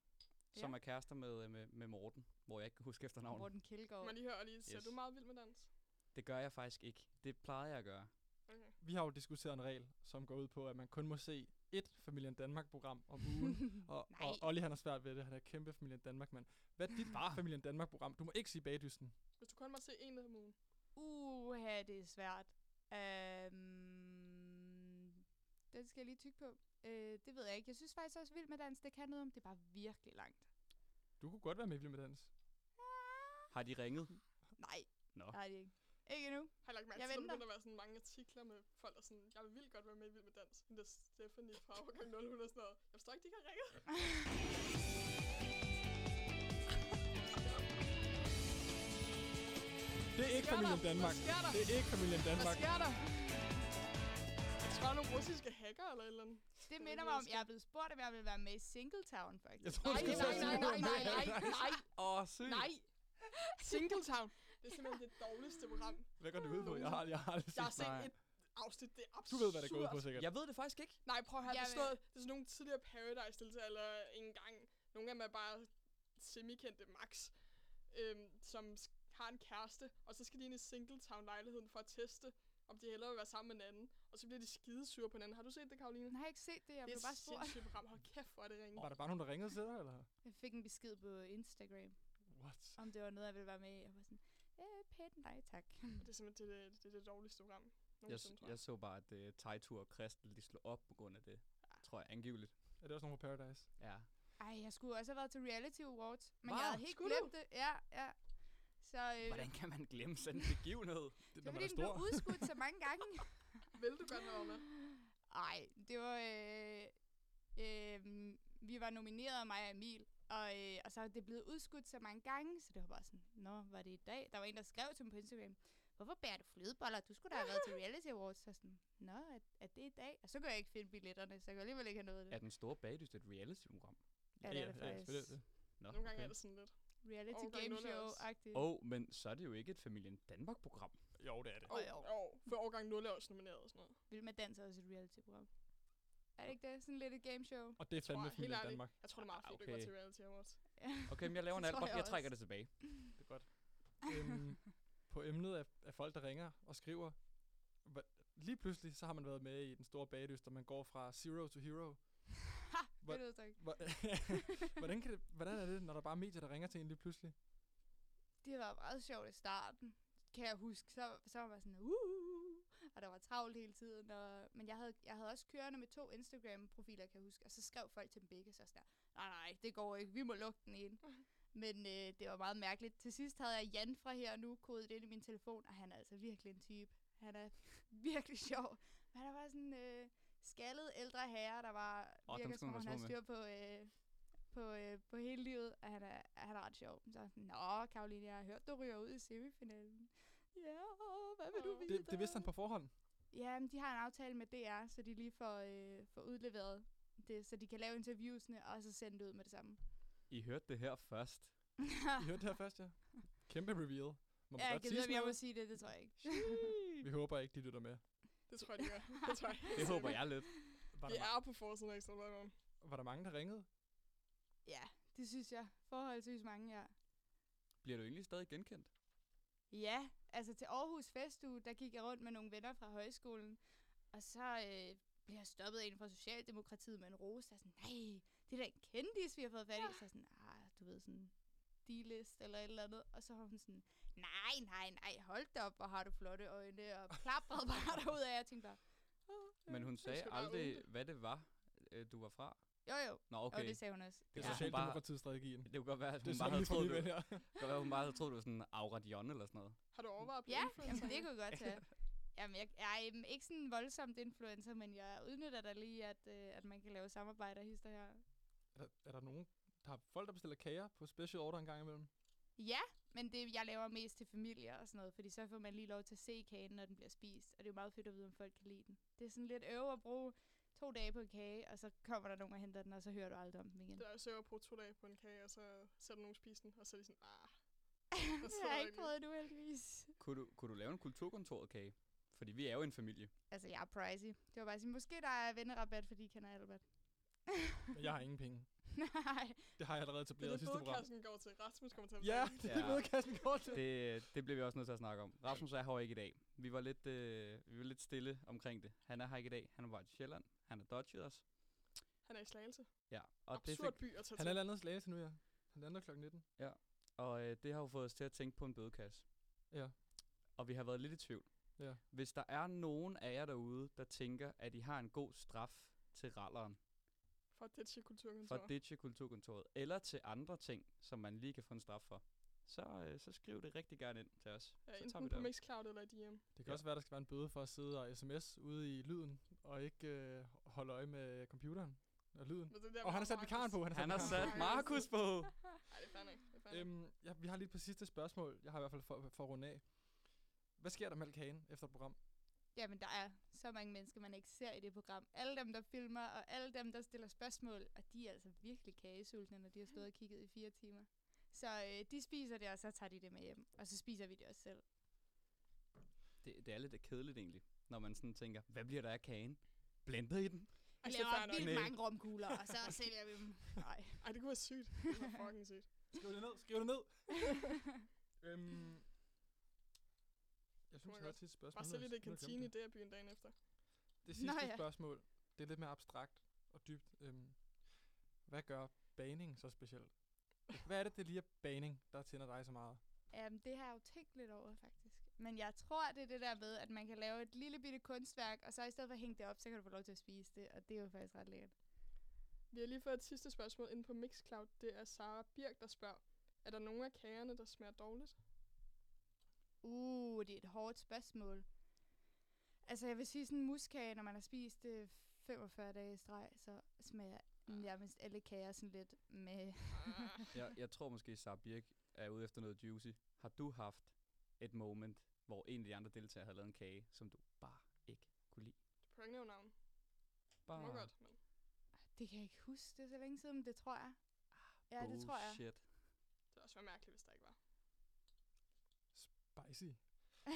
som er kærester med, øh, med, med Morten, hvor jeg ikke kan huske efternavnet. Morten Kjeldgaard. Men lige hører lige, ser Yes. du meget vild med dans? Det gør jeg faktisk ikke. Det plejer jeg at gøre. Okay. Vi har jo diskuteret en regel, som går ud på, at man kun må se et Familien Danmark-program om <laughs> ugen. og, og Olli han har svært ved det. Han er kæmpe Familien Danmark-mand. Hvad er dit Ah. Familien Danmark-program? Du må ikke sige bagdysten. Hvis du kun må se en om ugen. Uha, det er svært. Øhm, den skal jeg lige tykke på. Øh, det ved jeg ikke. Jeg synes faktisk også, Vild med Dans, det kan noget om. Det er bare virkelig langt. Du kunne godt være med i Vild med Dans. Har de ringet? Nej, Nå. nej, det er ikke. Ikke endnu. Har jeg lagt mærke Jeg til, at der venter. begynder at være sådan mange artikler med folk, der er sådan, jeg vil vildt godt være med i Vild med Dans. Men det er Stephanie <laughs> fra overgang 0, hun er sådan noget. Jeg forstår ikke, de kan ringe. Det er ikke sker der? Familien Danmark. Hvad sker der? Det er ikke Familien Danmark. Hvad sker der? Jeg tror, der er nogle russiske hacker eller et eller andet. Det minder mig om, jeg er blevet spurgt, om jeg vil være med i Singletown, faktisk. Jeg tror, du Nej, skal nej, til at nej, sige, nej, nej, nej, nej, Åh, sygt. nej. Singletown. Det er simpelthen det dårligste program. Hvad går det ud på? Jeg har, jeg har det Jeg har set Nej. et afsnit, det er absurd. Du ved, hvad det går ud på, sikkert. Jeg ved det faktisk ikke. Nej, prøv at høre, det er, Jamen. sådan noget, det er sådan nogle tidligere Paradise-deltagere, eller engang, nogle af dem er bare semikendte max, øhm, som s- har en kæreste, og så skal de ind i Singletown-lejligheden for at teste, om de hellere vil være sammen med hinanden, og så bliver de skide sure på hinanden. Har du set det, Karoline? Jeg har ikke set det, jeg det blev er bare et spurgt. sindssygt program. Hold kæft, hvor er det ringe. Var der bare nogen, der ringede til dig, eller? Jeg fik en besked på Instagram, What? om det var noget, jeg ville være med i. Jeg var sådan, øh, pænt, nej tak. Det er simpelthen det, det, det, det, det dårligste program. Jeg, Nogensinde, s- tror jeg så bare, at uh, Tejtur og Kristel, de slog op på grund af det. Tror jeg angiveligt. Er det også nogen fra Paradise? Ja. Ej, jeg skulle også have været til Reality Awards, men Wow, jeg havde helt skulle du? glemt det. Ja, ja. Så øh, Hvordan kan man glemme sådan en begivenhed? Det, <laughs> Det er fordi, den blev udskudt så <laughs> mange gange. Vil du godt være med? Nej, det var... Øh, øh, vi var nomineret af mig og Emil, og, øh, og så er det blevet udskudt så mange gange, så det var bare sådan, nå, var det i dag? Der var en, der skrev til mig på Instagram, hvorfor bærer du flødeboller? Du skulle da have været til Reality Awards. Så sådan, nå, er, er det i dag? Og så kunne jeg ikke finde billetterne, så jeg kunne alligevel ikke have noget af det. Er den store bagdyst et reality-program? Ja, det er det faktisk. Nå, Nogle gange okay. er det sådan lidt. Reality Årgang Game nul er også- Show-agtigt. Åh, oh, men så er det jo ikke et Familien Danmark-program. Jo, det er det. Og, jo. og, for årgang 0 er også nomineret og sådan noget. Vil man danse også et reality-program? Er det ikke det? Sådan lidt et game show? Og det er Tror jeg, fandme helt Familien ærligt. Danmark. Jeg tror, det er meget Ah, fedt, okay. du går okay. til Reality Awards. Okay, men jeg laver <laughs> en Det tror album. jeg Jeg også. trækker det tilbage. Det er godt. <laughs> øhm, på emnet af, af folk, der ringer og skriver. Hva- Lige pludselig, så har man været med i den store bagdyst, og man går fra zero to hero. Hvor- Hvor... Det udtryk. Hvor- <laughs> hvordan, kan det, hvordan er det, når der bare er medier, der ringer til en lige pludselig? Det var meget sjovt i starten, kan jeg huske. Så, så var man sådan, uh, uh, uh, og der var travlt hele tiden. Og, men jeg havde, jeg havde også kørende med to Instagram-profiler, kan jeg huske. Og så skrev folk til dem begge så sådan, der, nej, nej, det går ikke, vi må lukke den <laughs> ind. Men øh, det var meget mærkeligt. Til sidst havde jeg Jan fra her og nu kodet ind i min telefon, og han er altså virkelig en type. Han er <laughs> virkelig sjov. Men han var sådan øh, skaldet ældre herre, der var Åh, oh, dem virker skal som man om, han være har små styr på, øh, på, øh, på hele livet, og han er, han er ret sjov. Så er jeg sådan, Nå, Karoline, jeg har hørt, du ryger ud i semifinalen. Ja, hvad vil du Åh. vide? Det, det vidste han på forhånd. Ja, men de har en aftale med DR, så de lige får, øh, får udleveret det, så de kan lave interviewsene, og så sende det ud med det samme. I hørte det her først. <laughs> I hørte det her først, ja. Kæmpe reveal. Må man ja, jeg godt kan sige vide, om sådan jeg må noget? sige det, det tror jeg ikke. Vi håber ikke, de lytter med. Det tror jeg, det gør. <laughs> Det tror jeg. Det håber jeg lidt. Var Vi der, er på forsiden af ekstra Bladet i morgen. ma- var der mange, der ringede? Ja, det synes jeg. Forholdsvis mange, ja. Bliver du egentlig stadig genkendt? Ja, altså til Aarhus Festuge, der gik jeg rundt med nogle venner fra højskolen, og så øh, blev jeg stoppet af en fra Socialdemokratiet med en rose, der er sådan, nej, det er da en kendis, vi har fået fat i. Ja. Så er jeg sådan, ah, du ved sådan, D-list eller et eller andet. Og så var hun sådan, nej, nej, nej, hold da op, hvor har du flotte øjne, og plaprede bare <laughs> derud af. Jeg tænkte bare, "Ah, Men øh." hun sagde skal bare aldrig, åbne. hvad det var, øh, du var fra. Jo, jo, Nå, okay. og okay. det sagde hun også. Det er Ja. ja. Socialdemokratiets strategien. Det kunne godt være, at Det er hun bare sådan, havde vi skal troet, lige du, vælge. godt være, hun bare havde troet, du var sådan Aura Dion eller sådan noget. Har du overvejet at blive Ja, influencer? jamen, det kunne godt være. Jamen, jeg, jeg er øhm, ikke sådan en voldsomt influencer, men jeg udnytter da lige, at, øh, at man kan lave samarbejder hister her. Er der, er der nogen, der har folk, der bestiller kager på special order en gang imellem? Ja, men det jeg laver mest til familier og sådan noget, fordi så får man lige lov til at se kagen, når den bliver spist, og det er jo meget fedt at vide, om folk kan lide den. Det er sådan lidt øve at bruge to dage på en kage, og så kommer der nogen og henter den, og så hører du aldrig om den igen. Det er jo søger på to dage på en kage, og så sætter nogen spise den, og så er de sådan, <laughs> ah. det sidder har der jeg ikke lige- prøvet endnu, heldigvis. Kunne du, kunne du lave en kulturkontoret kage? Fordi vi er jo en familie. Altså, jeg er pricey. Det var bare at sige, måske der er vennerabat, fordi I kender Albert. Men jeg har ingen penge. <laughs> Nej. Det har jeg allerede Det er etableret i det, sidste program. bødekassen går til. Rasmus kommer til at Ja, betale. det er bødekassen går til. Det, det bliver vi også nødt til at snakke om. Rasmus er her ikke i dag. Vi var lidt, øh, vi var lidt stille omkring det. Han er her ikke i dag. Han var bare til Sjælland. Han har dodget os. Han er i Slagelse. Ja, og Og det Absurd fik- by at tage Han er til. landet slagelse nu, ja. Han lander klokken 19. Ja. Og øh, det har jo fået os til at tænke på en bødekasse. Ja. Og vi har været lidt i tvivl. Ja. Hvis der er nogen af jer derude, der tænker, at I har en god straf til ralleren, Fra Ditche Kulturkontor. fra Ditche Kulturkontoret, eller til andre ting, som man lige kan få en straf for, så, øh, så skriv det rigtig gerne ind til os. Ja, så tager vi enten det på op. Mixcloud eller i DM. Det kan ja. også være, der skal være en bøde for at sidde og sms ude i lyden, og ikke øh, holde øje med computeren og lyden. Men det er der, og vi han har har sat vikaren Markus. på. Han har vikaren på. sat Markus på. Nej, det er fandme ikke. Det er fandme ikke. Øhm, ja, vi har lige et par sidste spørgsmål. Jeg har i hvert fald for, for at runde af. Hvad sker der med kagen efter et program? Jamen, der er så mange mennesker, man ikke ser i det program. Alle dem, der filmer, og alle dem, der stiller spørgsmål, og de er altså virkelig kagesultne, når de har stået og kigget i fire timer. Så øh, de spiser det, og så tager de det med hjem. Og så spiser vi det også selv. Det, det er lidt kedeligt egentlig, når man sådan tænker, hvad bliver der af kagen? Blendet i den? Vi Ej, så fair laver nok. vildt Nej. mange romkugler, og så sælger vi dem. Nej. Ej, det kunne være sygt. Det kunne være fucking sygt. Skriv det ned, skriv det <laughs> ned. øhm, jeg synes, man jeg har godt et sidste spørgsmål. Bare Nu sælge det har i jeg- nu har jeg glemt kantine i DR-byen dagen efter. Det sidste Nå ja. spørgsmål, det er lidt mere abstrakt og dybt. Øhm, hvad gør baning så specielt? Hvad er det, det lige er baning, der tænder dig så meget? Um, det har jeg jo tænkt lidt over, faktisk. Men jeg tror, det er det der med, at man kan lave et lille bitte kunstværk, og så i stedet for at hænge det op, så kan du få lov til at spise det, og det er jo faktisk ret lækkert. Vi har lige fået et sidste spørgsmål inde på Mixcloud. Det er Sara Birk, der spørger. Er der nogen af kagerne, der smager dårligt? Uh, det er et hårdt spørgsmål. Altså, jeg vil sige sådan en muskage, når man har spist øh, 45 dage i streg, så smager nærmest alle kager sådan lidt med. <laughs> Ah, Jeg, jeg tror måske, Sara Birk er ude efter noget juicy. Har du haft et moment, hvor en af de andre deltagere havde lavet en kage, som du bare ikke kunne lide? du prøver ikke nævne navn. Du Ah. må Bare godt, men... Det kan jeg ikke huske, det er så længe siden, men det tror jeg. Ja, det tror jeg. bullshit. Det ville også være mærkeligt, hvis der ikke var. Spicy. Ja.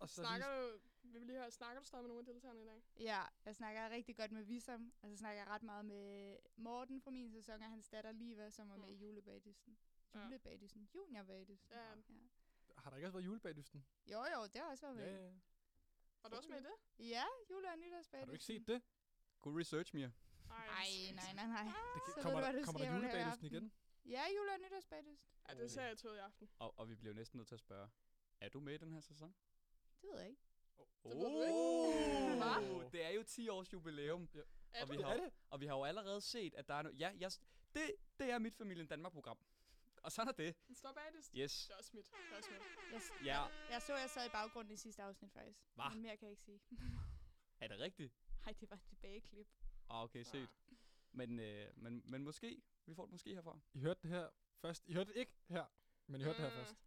Og så snakker du, vi vil lige høre, snakker du stadig med nogle af deltagerne i dag? Ja, jeg snakker rigtig godt med Visam, og så snakker jeg ret meget med Morten fra min sæson, og hans datter Liva, som var med i Mm. julebagdysten. Ja. Julebagdysten? Juniorbagdysten? Ja. Har der ikke også været julebagdysten? Jo, jo, det har også været med. Ja, ja. Var du også med i det? Ja, jule- og Har nytårsbagdysten. du ikke set det? God research, Mia. Nej, nej, nej, <laughs> nej. Så det ved kan, kommer, du, hvad der, du kommer skal der lave her i julebagdysten igen? Ja, jule- og nytårsbagdysten. Ja, det ser jeg tog i aften. Og, og vi bliver jo næsten nødt til at spørge, er du med i den her sæson? Det ved jeg ikke. Det ved du ikke. Hva? Oh! det er jo 10 års jubilæum. Er og, vi du? har, og vi har jo allerede set, at der er noget... Ja, jeg, s- det, det er mit familien Danmark-program. Og sådan er det. Stop af det. Yes. Det er også mit. Det er også mit. Jeg, s- Ja, jeg så, jeg sad i baggrunden i sidste afsnit faktisk. Hva? Men mere kan jeg ikke sige. <laughs> er det rigtigt? Nej, det var et tilbageklip. Ah, okay, set. Men, øh, men, men måske. Vi får det måske herfra. I hørte det her først. I hørte det ikke her, men I hørte det her Ah. Mm. først.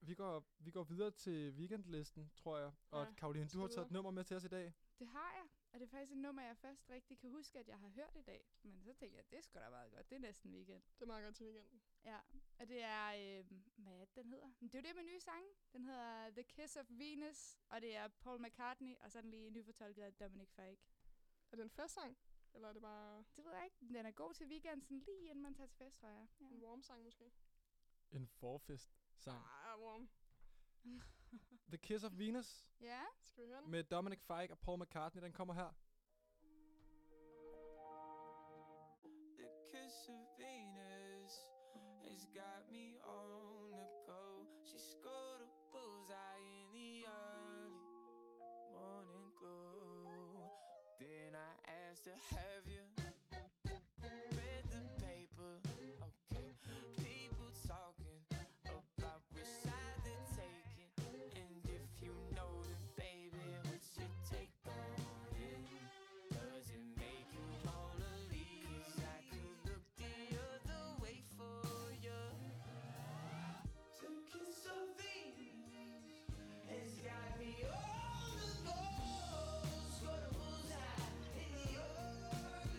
Vi går, vi går videre til weekendlisten, tror jeg. Og Ja, Karoline, skal du har vi taget et videre? nummer med til os i dag. Det har jeg, og det er faktisk et nummer, jeg først rigtig kan huske, at jeg har hørt i dag. Men så tænkte jeg, det skulle da meget godt. Det er næsten weekend. Det er meget godt til weekenden. Ja, og det er, øh, hvad er det, den hedder? Men Det er jo det med nye sange. Den hedder The Kiss of Venus, og det er Paul McCartney, og sådan lige nyfortolket af Dominic Fike. Er det en festsang? Eller er det bare Det ved jeg ikke. Den er god til weekenden, lige inden man tager til fest, tror jeg. Ja. en warm sang måske? En forfest-sang. Ah, warm. The Kiss of Venus ja. Skal vi høre den? med Dominic Fike og Paul McCartney, den kommer her. The kiss of Venus has got me on the go. She scored a bullseye in the early morning glow. Then I asked her, Have you read the paper? Okay, people talking about which side they're taking. And if you know then baby, what's your take on it? Does it make you wanna leave? 'Cause I could look the other way for you. The kiss of Venus has got me on the go. Scored a bullseye in the early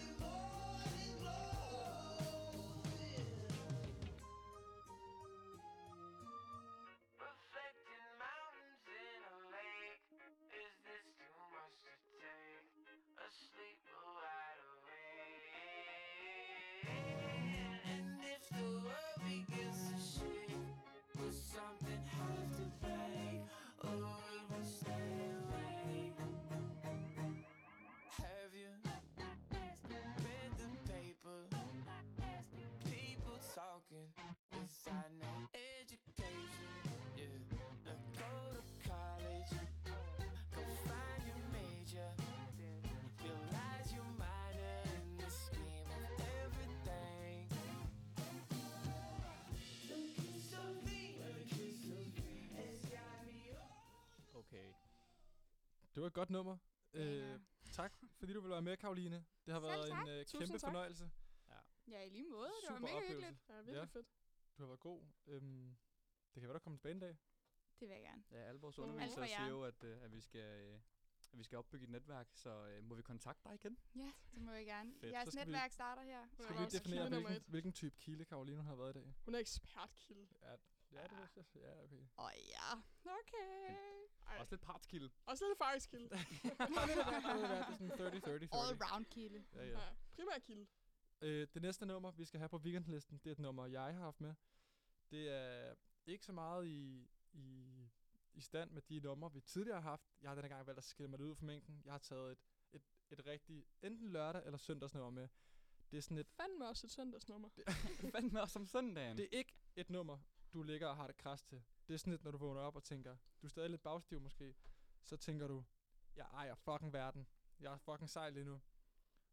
Det var et godt nummer. Banger. Øh, tak, fordi du ville være med, Karoline. Det har Selv været tak. en øh, Tusind kæmpe tak. fornøjelse. Ja, i lige måde. Det var Super mega oplevelse. hyggeligt. Ja, virkelig Ja. fedt. Du har været god. Øhm, det kan være, der kommer tilbage en dag. Det vil jeg gerne. Ja, alle vores Mm. undervisere Alt for siger jer. jo, at, øh, at, vi skal, øh, at vi skal opbygge et netværk, så øh, må vi kontakte dig igen? Ja, det må jeg gerne. Fedt. Så Jeres skal vi- netværk starter her. Skal Skal Ja, vi også lige definere, kilde nummer hvilken, et. hvilken type kilde Karoline har været i dag? Hun er ekspertkilde. Ja, ja det er det. Ja, okay. Åh oh, ja, okay. Ej, Også lidt partskilde. også lidt farskilde. <laughs> det er sådan 30, 30, 30. All round kilde. Ja, Ja. ja. Primær kilde. Øh, det næste nummer, vi skal have på weekendlisten, det er et nummer, jeg har haft med. Det er ikke så meget i, i, i stand med de numre, vi tidligere har haft. Jeg har denne gang valgt at skille mig lidt ud fra mængden. Jeg har taget et, et, et rigtigt, enten lørdag eller søndagsnummer med. Det er sådan et, Fandme også et søndagsnummer. Fandme også om søndagen. det er ikke et nummer, du ligger og har det kras til. Det er sådan et, når du vågner op og tænker, du er stadig lidt bagstiv måske, så tænker du, jeg ejer fucking verden. Jeg er fucking sej lige nu.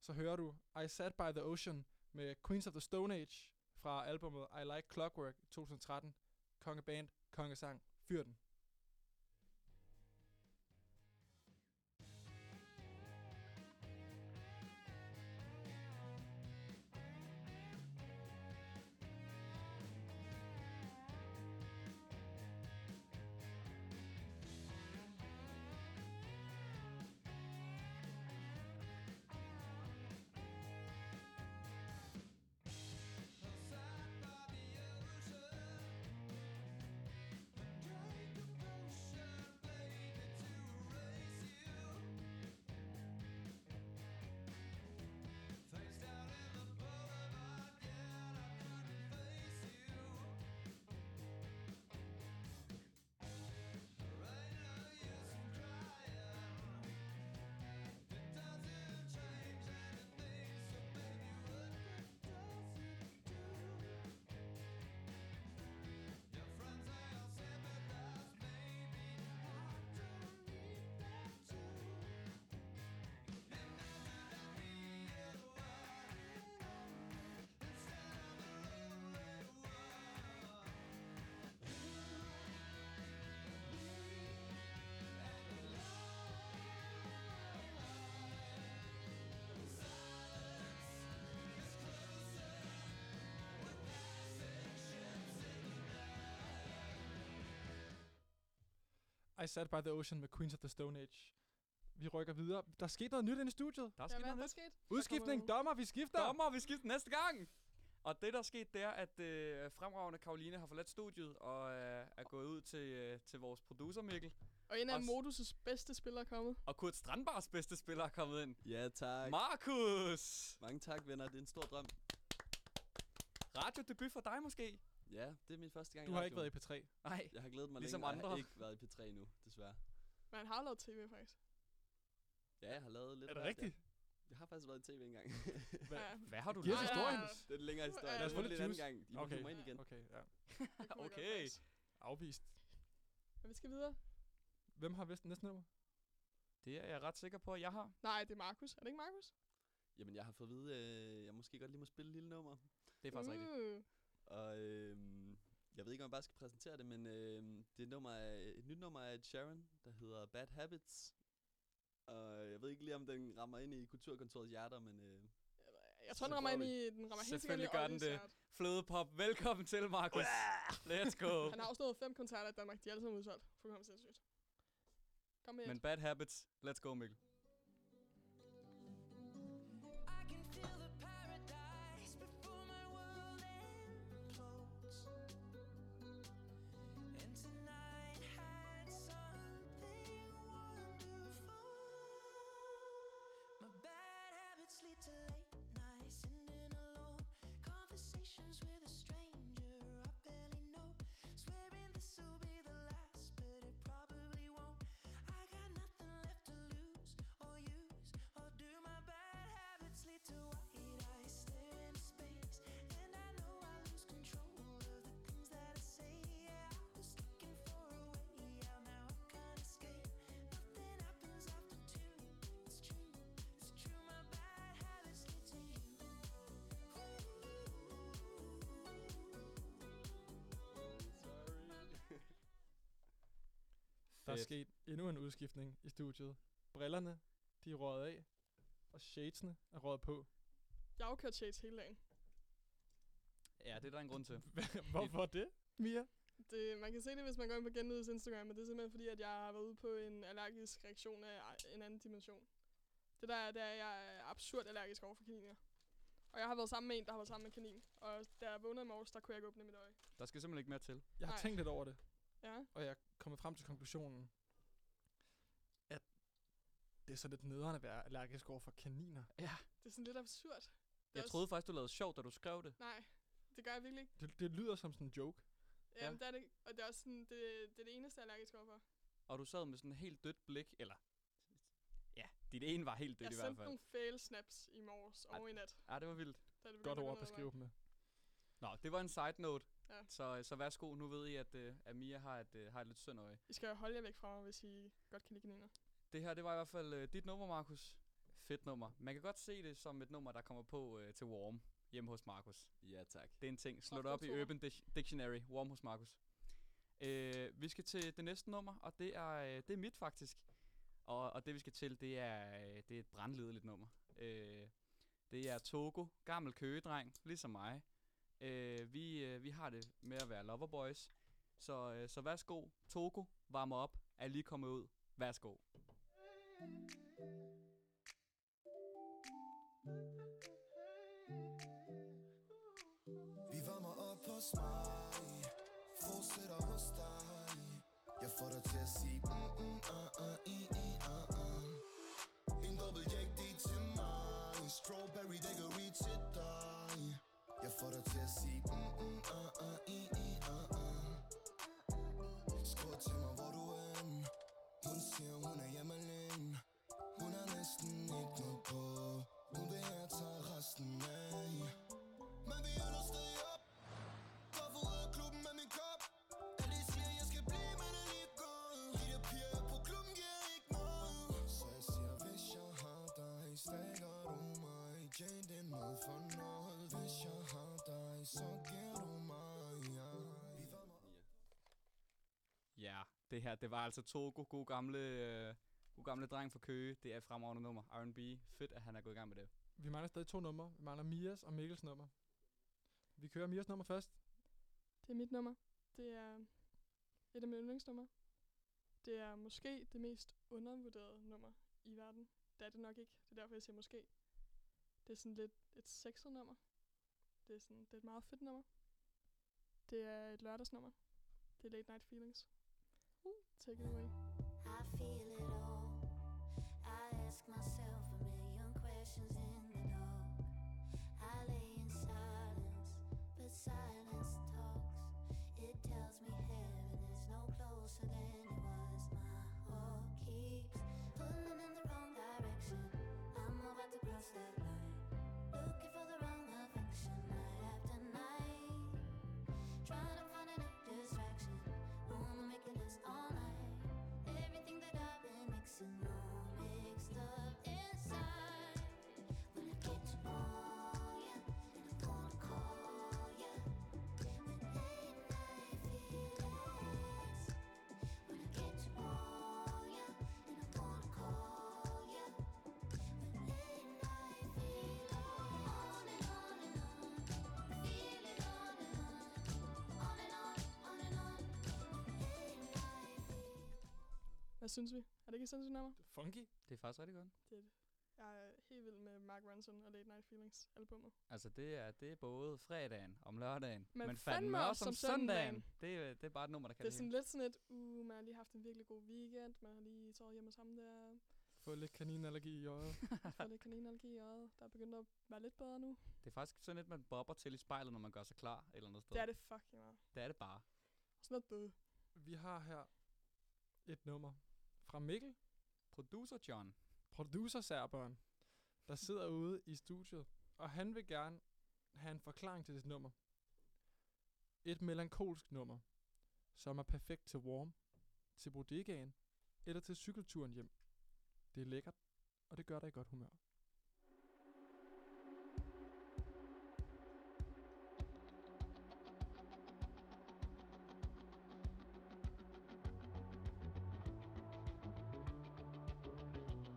Så hører du I Sat By The Ocean med Queens of the Stone Age fra albumet I Like Clockwork 2013. Kongeband, kongesang, fyr den. I Sat By The Ocean med Queens of the Stone Age. Vi rykker videre. Der skete noget nyt inde i studiet. Der er Ja, sket hvad er noget der nyt. sket? Udskiftning, dommer, vi skifter. Dommer, vi skifter næste gang! Og det, der er sket, det er, at øh, fremragende Karoline har forladt studiet og øh, er gået ud til, øh, til vores producer Mikkel. Og en af Også- Modus' bedste spillere er kommet. Og Kurt Strandbars bedste spiller er kommet ind. Ja, tak. Markus! Mange tak, venner. Det er en stor drøm. Radiodebut for dig måske? Ja, det er min første gang Du i har ikke radioen. været i P3. Nej. Jeg har glædet mig ligesom længe, og Jeg andre. har ikke været i P3 nu, desværre. Men han har lavet tv, faktisk. Ja, jeg har lavet lidt Er det af hvert, ja. rigtigt? Jeg har faktisk været i tv engang. Hvad? Ja, Hvad har du Giv os Nej, lavet? historien. nej, det er en længere historie. Lad os få Det er lidt en anden juice. gang. I må Okay. okay. mig ind igen. Okay, ja. det kunne jeg godt Okay. faktisk. Afvist. Men vi skal videre. Hvem har vidst næste nummer? Det er jeg ret sikker på, at jeg har. Nej, det er Markus. Er det ikke Markus? Jamen, jeg har fået at vide, øh, jeg måske godt lige må spille et lille nummer. Det er Mm. faktisk rigtigt. rigtigt. Og øhm, jeg ved ikke, om jeg bare skal præsentere det, men øhm, det er et, nummer af, et nyt nummer af Ed Sheeran, der hedder Bad Habits. Og jeg ved ikke lige, om den rammer ind i kulturkontorets hjerter, men øh, Jeg tror, den Så rammer prøver ind i... Den rammer helt sikkert Selvfølgelig ind i gør den Ollies det. hjerte. Flødepop, velkommen til, Markus. Let's go. Han har også nået fem koncerter i Danmark. De er alle sammen udsolgt. Fuldkommen sindssygt. Kom med. Men bad habits. Let's go, Mikkel. Der er Fedt. øh, sket endnu en udskiftning i studiet. Brillerne, de er røget af, og shadesene er røget på. Jeg har jo kørt shades hele dagen. Ja, det er der en grund til. Hvorfor det, Mia? Det, man kan se det, hvis man går ind på Genlyds Instagram, og det er simpelthen fordi, at jeg har været ude på en allergisk reaktion af a- en anden dimension. Det der er, det er, at jeg er absurd allergisk over for kaniner. Og jeg har været sammen med en, der har været sammen med en kanin. Og da jeg vågnede i morges, der kunne jeg ikke åbne mit øje. Der skal simpelthen ikke mere til. Jeg har Nej. tænkt lidt over det, Ja. og jeg er kommet frem til konklusionen, at det er så lidt nederen at være allergisk over for kaniner. Ja. Det er sådan lidt absurd. Det er Jeg også- troede faktisk, du lavede sjov, da du skrev det. Nej, det gør jeg virkelig ikke. Det, det lyder som sådan en joke. Ja. Jamen, det er det, ikke. og det er også sådan, det, det er det eneste, jeg er allergisk overfor. Og du sad med sådan et helt dødt blik, eller... Ja, dit ene var helt Det dødt jeg i hvert sendte fald. nogle fail snaps i morges og i nat. Ja, det var vildt. Da det begyndte Godt at ord gå at beskrive nedad. dem med. Nå, det var en side note. Ja. Så, så værsgo, nu ved I, at, øh, at Mia har et, øh, har et lidt synd øje. I skal holde jer væk fra mig, hvis I godt kan lide kaniner. Det her, det var i hvert fald øh, dit nummer, Markus. Fedt nummer. Man kan godt se det som et nummer, der kommer på øh, til Warm hjemme hos Markus. Ja, tak. Det er en ting. Slå Og det op i sponsorer. Urban Dic- Dictionary. Warm hos Markus. Øh, vi skal til det næste nummer, og det er, øh, det er mit faktisk. Og, og det vi skal til, det er, øh, det er et brandledeligt nummer. Øh, det er Togo, gammel køgedreng, ligesom mig. Øh, vi, øh, vi har det med at være loverboys. Så, øh, så værsgo, Togo, varmer op, er lige kommet ud. Værsgo. Vi varmer op hos mig Fortsætter hos dig Jeg får dig til at sige mm, mm, ah, ah, i, i, ah, ah. En dobbelt jack, det er til mig Strawberry daiquiri til dig Jeg får dig til at sige mm, mm, ah, ah, i, i, ah, ah. Skriv til mig, hvor du er henne. Hun siger, hun er hjemme alene Hun har næsten ikke noget på Hun vil have tager resten af men vi ender stadig op Går ud af klubben med min kop Alle siger jeg skal blive, men er lige gået De der piger på klubben giver ikke noget Så jeg siger, hvis jeg har dig Stakker du mig Jane, det er noget for noget Hvis jeg har dig, så giver du mig ja. Ja, det her, det var altså Togo, god gamle, øh, god gamle dreng fra Køge. Det er et fremragende nummer. R&B. Fedt, at han er gået i gang med det. Vi mangler stadig to numre. Vi mangler Mias og Mikkels nummer. Vi kører Mias nummer først. Det er mit nummer. Det er et af mine yndlingsnumre. Det er måske det mest undervurderede nummer i verden. Det er det nok ikke. Det er derfor, jeg siger måske. Det er sådan lidt et sexet nummer. Det er, sådan, det er et meget fedt nummer. Det er et lørdagsnummer. Det er Late Night Feelings. Uh. Take it away. I feel it all. I ask myself a million questions in the dark. I lay in silence, but silence talks. It tells me heaven is no closer than it was. My heart keeps pulling in the wrong direction. I'm about to cross that line. Looking for the wrong affection night after night. Trying to find a new distraction. Wanna make it last all night. Everything that I've been mixing all mixed up inside. When I get to know ya, and I'm gonna call ya. With late night feelings. When I get to know ya, and I'm gonna call ya. With late night feelings. On and on and on. Feel it on and on. On and on, on and on. Late night Hvad synes vi? Er det ikke et sindssygt nummer? Funky? Det er faktisk rigtig godt. Det er det. Jeg er helt vild med Mark Ronson og Late Night Feelings albumet. Altså, det er, det er både fredagen om lørdagen, Men fandme også om søndagen. Det, er- det er bare et nummer, der kan Det er det, sådan hele. lidt sådan et, uh, man har lige haft en virkelig god weekend, man har lige sovet hjemme sammen der, Få lidt kaninallergi i øjet. fået lidt kaninallergi i øjet, der er begyndt at være lidt bedre nu. <laughs> det er faktisk sådan lidt, man bobber til i spejlet, når man gør sig klar et eller andet sted. Det er det fucking meget. Det er det bare. Sådan noget bøde. Vi har her et nummer fra Mikkel. Producer John. Producer Serberen, der sidder ude i studiet, og han vil gerne have en forklaring til det nummer. Et melankolsk nummer, som er perfekt til warm, til bodegaen eller til cykelturen hjem. Det er lækkert, og det gør dig i godt humør. Late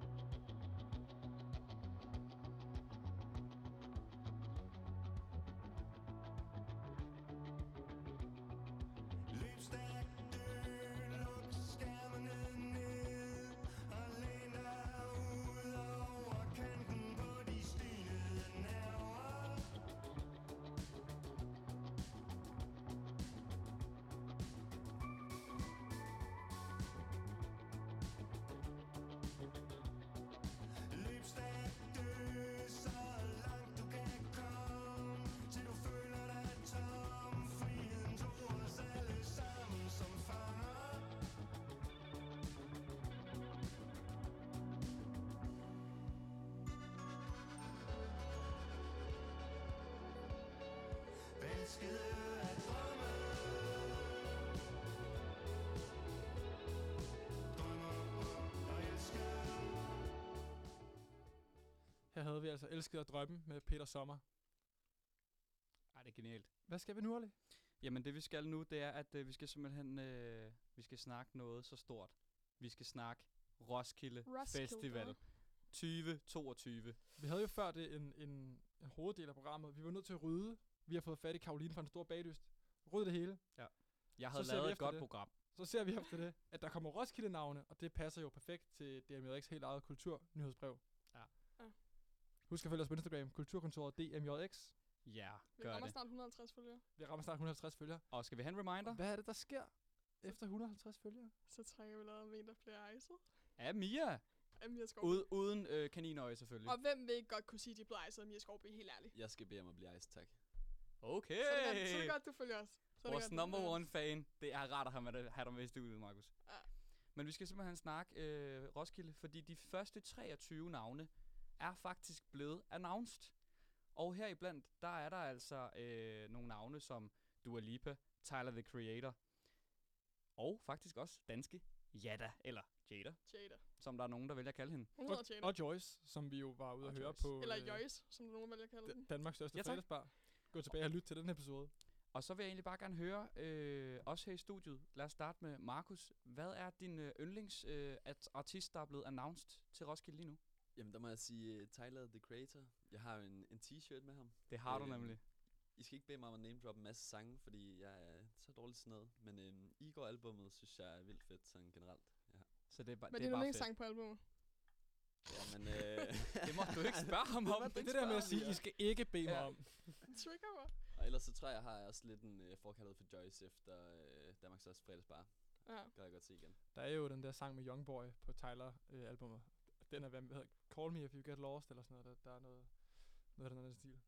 vi altså elskede at drømme med Peter Sommer. Ej, det er genialt. Hvad skal vi nu, Olli? Jamen det vi skal nu, det er, at øh, vi skal simpelthen øh, vi skal snakke noget så stort. Vi skal snakke Roskilde, Roskilde. Festival 2022. Vi havde jo før det en, en, en hoveddel af programmet. Vi var nødt til at rydde. Vi har fået fat i Karoline fra en stor bagdyst. Ryd det hele. Ja. Jeg havde ser vi lavet et efter godt det. program. Så ser vi efter det, at der kommer Roskilde-navne, og det passer jo perfekt til DMJX helt eget kulturnyhedsbrev. Ja. Ja. Husk at følge os på Instagram, kulturkontoret DMJX. Ja, Vi gør rammer det. snart 150 følgere. Vi rammer snart 150 følgere. Og skal vi have en reminder? Hvad er det, der sker efter 150 følgere? Så trækker vi lavet om en, der bliver ejset. Ja, Mia. Af Mia Skovby. Ude, uden øh, kaninøje selvfølgelig. Og hvem vil ikke godt kunne sige, at de bliver ejset af Mia Skovby, helt ærligt. Jeg skal bede om at blive ejst, tak. Okay. Så, er det godt, så er det godt, du følger os. Så er det Vores godt, du number følger os. one fan. Det er rart at have med det- have dig med i studiet, Markus. Ja. Men vi skal simpelthen snakke øh, Roskilde, fordi de første 23 navne er faktisk blevet announced. Og heriblandt, der er der altså øh, nogle navne som Dua Lipa, Tyler the Creator, og faktisk også danske Jada, eller Jada, Jada. som der er nogen, der vælger at kalde hende. Hun hedder Jada. Og Joyce, som vi jo var ude at høre på Eller øh, Joyce, som nogen vælger at kalde den. Danmarks største Ja, ja, tak. fredagsbar. Gå tilbage og lyt til den episode. Og så vil jeg egentlig bare gerne høre, øh, også her i studiet, lad os starte med Markus. Hvad er din øh, yndlings øh, at artist, der er blevet announced til Roskilde lige nu? Jamen, der må jeg sige uh, Tyler, the creator. Jeg har jo en, en t-shirt med ham. Det har du nemlig. I skal ikke bede mig om at name droppe en masse sange, fordi jeg er så dårlig til sådan noget. Men øhm, Igor-albummet synes jeg er vildt fedt sådan generelt. Ja. Så det er, ba- Men det er en sang på albumet. <laughs> Ja, men, øh, Det må du ikke spørge ham må om. du Det er ikke det der med at spørge sige, ham, I skal ikke bede mig om. Trigger mig. Og ellers så tror jeg, jeg har også lidt en øh, forkærlighed for Joyce efter øh, Danmarks største fredagsbar. Ja. Kan jeg godt se igen. Der er jo den der sang med Youngboy på Tyler-albumet. den er, hvad hedder Call Me If You Get Lost, eller sådan noget. Der, der er noget, noget af den anden stil.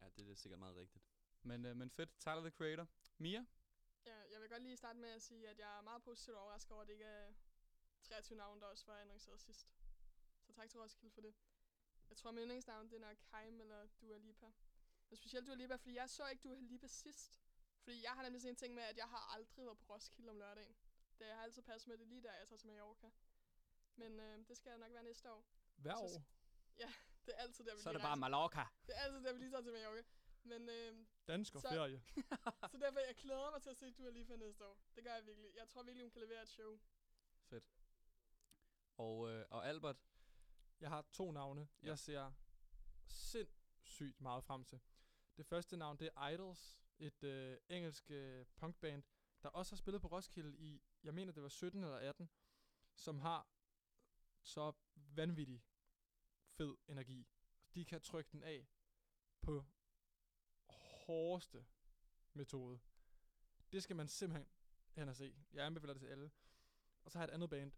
Ja, det er sikkert meget rigtigt. Men, øh, men fedt, Tyler the Creator. Mia? Ja, jeg vil godt lige starte med at sige, at jeg er meget positivt overrasket over, at det ikke er 23 navne, der også var annonceret sidst. Så tak til Roskilde for det. Jeg tror, min yndlingsnavn, det er nok Keim eller Dua Lipa. Men specielt Dua Lipa, fordi jeg så ikke Dua Lipa sidst. Fordi jeg har nemlig sådan en ting med, at jeg har aldrig været på Roskilde om lørdagen. Det jeg har altid passet med det lige der, jeg tager til Mallorca. Men øh, det skal jeg nok være næste år. Hver Så- år. Ja, det er altid der, vi Så er lige det bare rejser. Mallorca. Det er altid der, vi lige tager til Mallorca. Men øh, Dansk og så- ferie. så derfor, jeg glæder mig til at se Dua Lipa næste år. Det gør jeg virkelig. Jeg tror virkelig, hun kan levere et show. Fedt. Og, øh, og Albert? Jeg har to navne, ja. jeg ser sindssygt meget frem til. Det første navn, det er Idols, et øh, engelsk øh, punkband, der også har spillet på Roskilde i, jeg mener det var 17 eller 18, som har så vanvittig fed energi. De kan trykke den af på hårdeste metode. Det skal man simpelthen hen og se. Jeg anbefaler det til alle. Og så har jeg et andet band,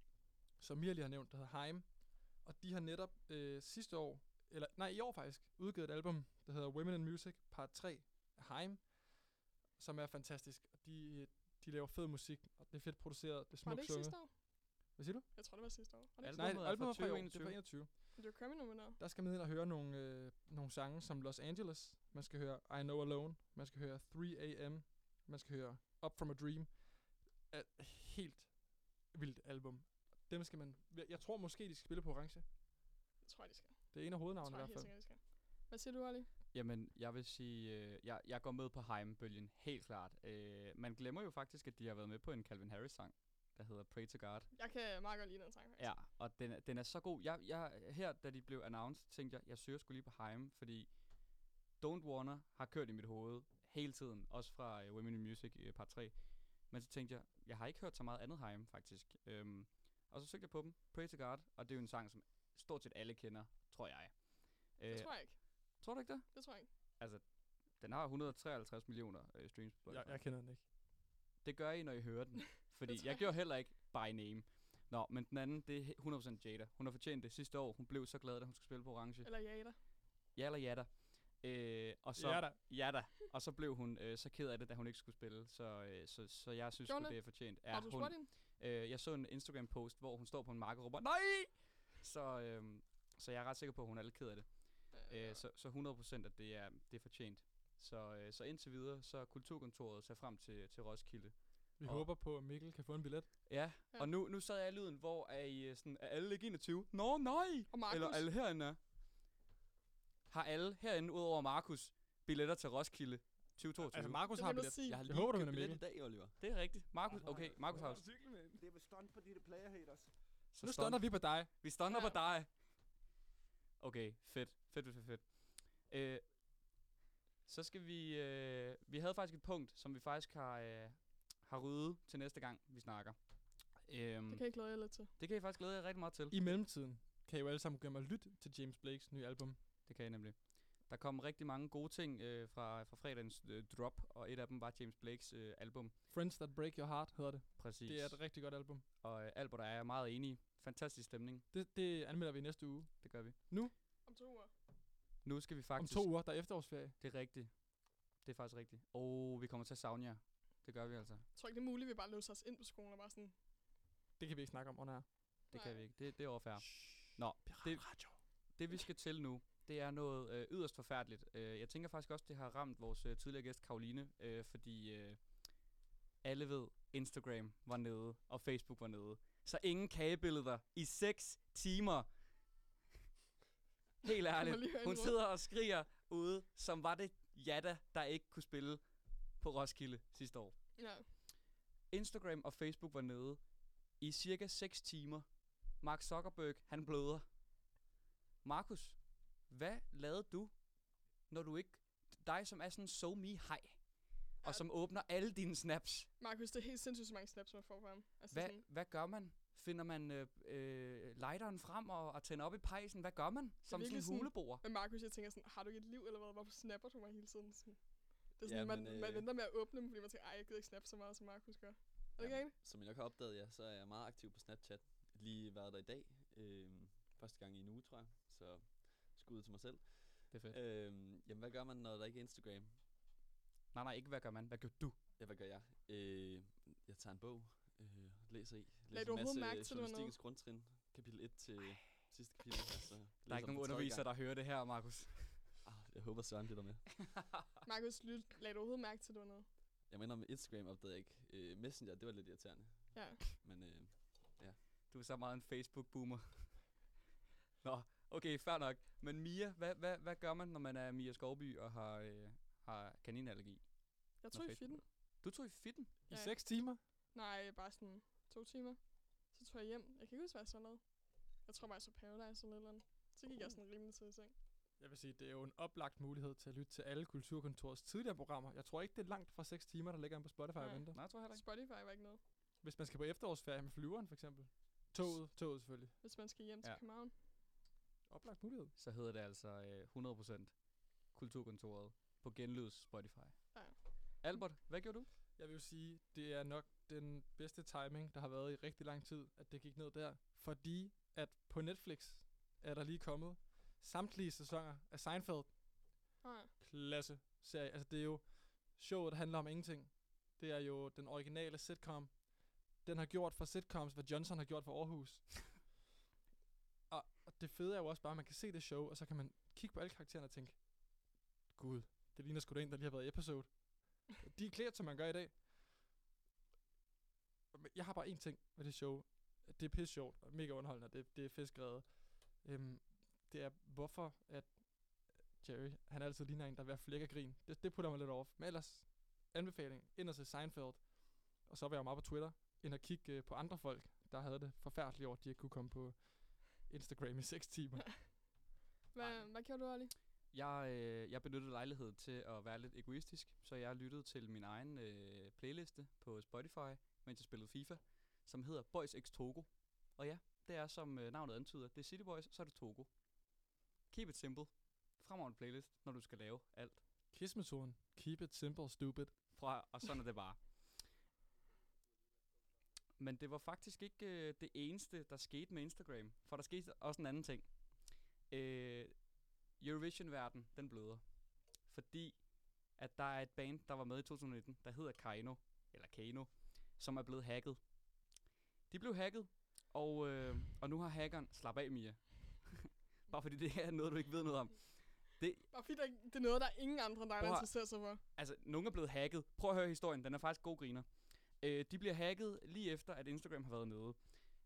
som Mia lige har nævnt, der hedder Heim. Og de har netop øh, sidste år, eller nej, i år faktisk, udgivet et album, der hedder Women in Music Part 3 af Heim, som er fantastisk. Og de, øh, de laver fed musik, og det er fedt produceret, det Var er smukt det ikke sunget. sidste år? Hvad siger du? Jeg tror, det var sidste år. Var det ikke? Nej, Albummet er fra albumet er fra i år. Det er 2021. fra 21. Men det var Grammy nomineret. Der skal man ind og høre nogle, øh, nogle sange som Los Angeles. Man skal høre I Know Alone. Man skal høre 3 AM. Man skal høre Up From A Dream. Et helt vildt album. Dem skal man... jeg- Jeg tror måske, de skal spille på orange. Det tror jeg, de skal. Det er en af Det hovednavnene tror i jeg hvert helt fald. sikkert, de skal. Hvad siger du, Olli? Jamen, jeg vil sige, øh, jeg, jeg går med på Heim-bølgen, helt klart. Øh, man glemmer jo faktisk, at de har været med på en Calvin Harris-sang, der hedder Pray to God. Jeg kan meget godt lide den sang, faktisk. Ja, og den, er- den er så god. Jeg, jeg, her, da de blev announced, tænkte jeg, jeg søger skulle lige på Heim, fordi Don't Wanna har kørt i mit hoved hele tiden, også fra øh, Women in Music øh, part 3. Men så tænkte jeg, jeg har ikke hørt så meget andet Heim, faktisk. Øhm, og så søgte jeg på dem, Pray to God, og det er jo en sang, som stort set alle kender, tror jeg. øh, Det tror jeg ikke. Tror du ikke det? Det tror jeg ikke. Altså, den har 153 millioner øh, streams på Jeg, Spotify. jeg kender den ikke. Det gør I, når I hører <laughs> den. Fordi tror jeg jeg. gjorde heller ikke by name. Nå, men den anden, det er he- 100% Jada. Hun har fortjent det sidste år. Hun blev så glad, da hun skulle spille på Orange. Eller Jada. Ja eller Jada. Øh, og så, Jada. Jada. Og så blev hun øh, så ked af det, da hun ikke skulle spille. Så, øh, så, så jeg synes, Gjorde hun sgu, det det? er fortjent. Har du hun, spurgt hende? øh, jeg så en Instagram-post, hvor hun står på en mark og råber, nej! Så, øh, så jeg er ret sikker på, at hun er lidt ked af det. Øh, så, så 100% at det er, det er fortjent. Så, øh, så indtil videre, så Kulturkontoret ser frem til, til Roskilde. Vi Og- håber på, at Mikkel kan få en billet. Ja, Ja. og nu, nu sad jeg i lyden, hvor er I øh, sådan, er alle ikke 21? Nå, nej! Og Markus. Eller alle herinde er. har alle herinde, udover Markus, billetter til Roskilde 2022. Altså, Markus Det har vil jeg billet. sige. Jeg har Jeg lige håber, du købt vinder, billet i Mikkel. dag, Oliver. Det er rigtigt. Markus, okay, Markus har Det er bestand på dine player haters. så Nu stunder vi på dig. Vi stunder på dig. Okay, fedt. Fedt, fedt, fedt, fedt. Øh, så skal vi... Øh, vi havde faktisk et punkt, som vi faktisk har, øh, har ryddet til næste gang, vi snakker. Øhm, Det kan jeg glæde jer lidt til. det kan I faktisk glæde jer rigtig meget til. I mellemtiden kan I jo alle sammen gå hjem og lytte til James Blakes nye album. Det kan I nemlig. Der kom rigtig mange gode ting øh, fra, fra fredagens øh, drop, og et af dem var James Blakes øh, album. Friends That Break Your Heart hedder det. Præcis. Det er et rigtig godt album. Og øh, Albert og jeg er meget enige. Fantastisk stemning. Det, det anmelder vi i næste uge. Det gør vi. Nu, Om to uger. Nu skal vi faktisk... om to uger, der er efterårsferie. Det er rigtigt. Det er faktisk rigtigt. Og oh, vi kommer til at savne jer. Det gør vi altså. Det Jeg tror ikke, det er muligt, at vi bare låser os ind på skolen og bare sådan... Det kan vi ikke snakke om under her. Nej. kan vi ikke. Det, det er overfærd. Nå, det, det vi skal til nu, det er noget øh, yderst forfærdeligt. Øh, jeg tænker faktisk også, det har ramt vores øh, tidligere gæst Karoline, øh, fordi øh, alle ved, Instagram var nede, og Facebook var nede. Så ingen kagebilleder i 6 timer. må Helt lige høre ærligt. en Hun råd. sidder og skriger ude, som var det Jada, der ikke kunne spille på Roskilde sidste år. Ja. Instagram og Facebook var nede i cirka 6 timer. Mark Zuckerberg, han bløder. Markus, hvad lavede du, når du ikke... Dig, som er sådan en so me hej og som åbner alle dine snaps. Markus, det er helt sindssygt, så mange snaps, man får fra ham. Altså Hvad, sådan, hvad gør man? Finder man øh, øh, lighteren frem og, og tænder op i pejsen? Hvad gør man det er som sådan virkelig en huleboer? Men Markus, jeg tænker sådan, har du ikke et liv eller hvad? Hvorfor snapper du mig hele tiden? Sådan. Det er Ja, sådan, ja, man, men, øh... man øh, venter med at åbne dem, fordi man tænker, ej, jeg gider ikke snappe så meget, som Markus gør. Er det ikke rigtigt? Som jeg nok har opdaget, ja, så er jeg meget aktiv på Snapchat. Lige været der i dag. Øhm, første gang i en uge, tror jeg. Så skud til mig selv. Det er fedt. Øhm, jamen, hvad gør man, når der ikke er Instagram? Nej, nej, ikke hvad gør man. Hvad gør du? Ja, hvad gør jeg? Øh, jeg tager en bog, øh, læser i. Læser du overhovedet mærke til, det var noget? journalistikens grundtrin, kapitel 1 til sidste kapitel. Altså, Der er ikke nogen underviser, der hører det her, Markus. Jeg håber, Søren lytter med. Markus, lyt, lagde du overhovedet mærke til, at det var noget? Jeg mener, med Instagram opdagede jeg ikke. Øh, Messenger, det var lidt irriterende. Ja. Men øh, ja. Du er så meget en Facebook-boomer. Nå, okay, fair nok. Men Mia, hvad, hvad, hvad gør man, når man er Mia Skovby og har, øh, har kaninallergi? Jeg Når tog i Facebook- fitten. Du tog i fitten? I Ja. seks timer? Nej, bare sådan to timer. Så tog jeg hjem. Jeg kan ikke huske, hvad jeg så lavede. Jeg tror bare, jeg så Paradise eller et eller andet. Så gik jeg sådan rimelig tid i seng. Jeg vil sige, det er jo en oplagt mulighed til at lytte til alle Kulturkontorets tidligere programmer. Jeg tror ikke, det er langt fra 6 timer, der ligger inde på Spotify og venter. Nej, jeg tror heller ikke. Spotify var ikke noget. Hvis man skal på efterårsferie med flyveren, for eksempel. Toget, toget selvfølgelig. Hvis man skal hjem til Ja. København. Oplagt mulighed. Så hedder det altså øh, 100% Kulturkontoret på Genlyds Spotify. Ja. Albert, hvad gjorde du? Jeg vil jo sige, det er nok den bedste timing, der har været i rigtig lang tid, at det gik ned der. Fordi at på Netflix er der lige kommet samtlige sæsoner af Seinfeld. Nej. Klasse serie. Altså det er jo showet, der handler om ingenting. Det er jo den originale sitcom. Den har gjort for sitcoms, hvad Johnson har gjort for Aarhus. og, og det fede er jo også bare, at man kan se det show, og så kan man kigge på alle karaktererne og tænke, Gud, det ligner sgu da en, der lige har været i episode. De er klædt, som man gør i dag. Men Jeg har bare én ting ved det show. Det er pisse sjovt og mega underholdende, og det, det er fiskrevet. Øhm, det er, hvorfor at Jerry, han altid ligner en, der er ved at flække af grin. Det, det putter mig lidt off. Men ellers, anbefaling, ind og se Seinfeld. Og så var jeg jo meget på Twitter, ind og kigge øh, på andre folk, der havde det forfærdeligt over, at de ikke kunne komme på Instagram i 6 <laughs> timer. Hvad, hvad gjorde du, Ali? Jeg, øh, jeg benyttede lejligheden til at være lidt egoistisk, så jeg lyttede til min egen øh, playliste på Spotify, mens jeg spillede FIFA, som hedder Boys X Togo. Og ja, det er som øh, navnet antyder, det er City Boys, så er det Togo. Keep it simple. Fremover en playlist, når du skal lave alt. Kiss-metoden. Keep it simple, stupid. Fra, og sådan er det bare. Men det var faktisk ikke øh, det eneste, der skete med Instagram. For der skete også en anden ting. Øh, Eurovision-verden, den bløder. Fordi at der er et band, der var med i 2019, der hedder Kano, eller Kano, som er blevet hacket. De blev hacket, og, øh, og nu har hackeren... Slap af, Mia. <laughs> Bare fordi det er noget, du ikke ved noget om. Det, Bare fordi der, ikke- det er noget, der er ingen andre end dig, Prøv der at- interesserer sig for. Altså, nogen er blevet hacket. Prøv at høre historien, den er faktisk god griner. Øh, de bliver hacket lige efter, at Instagram har været nede.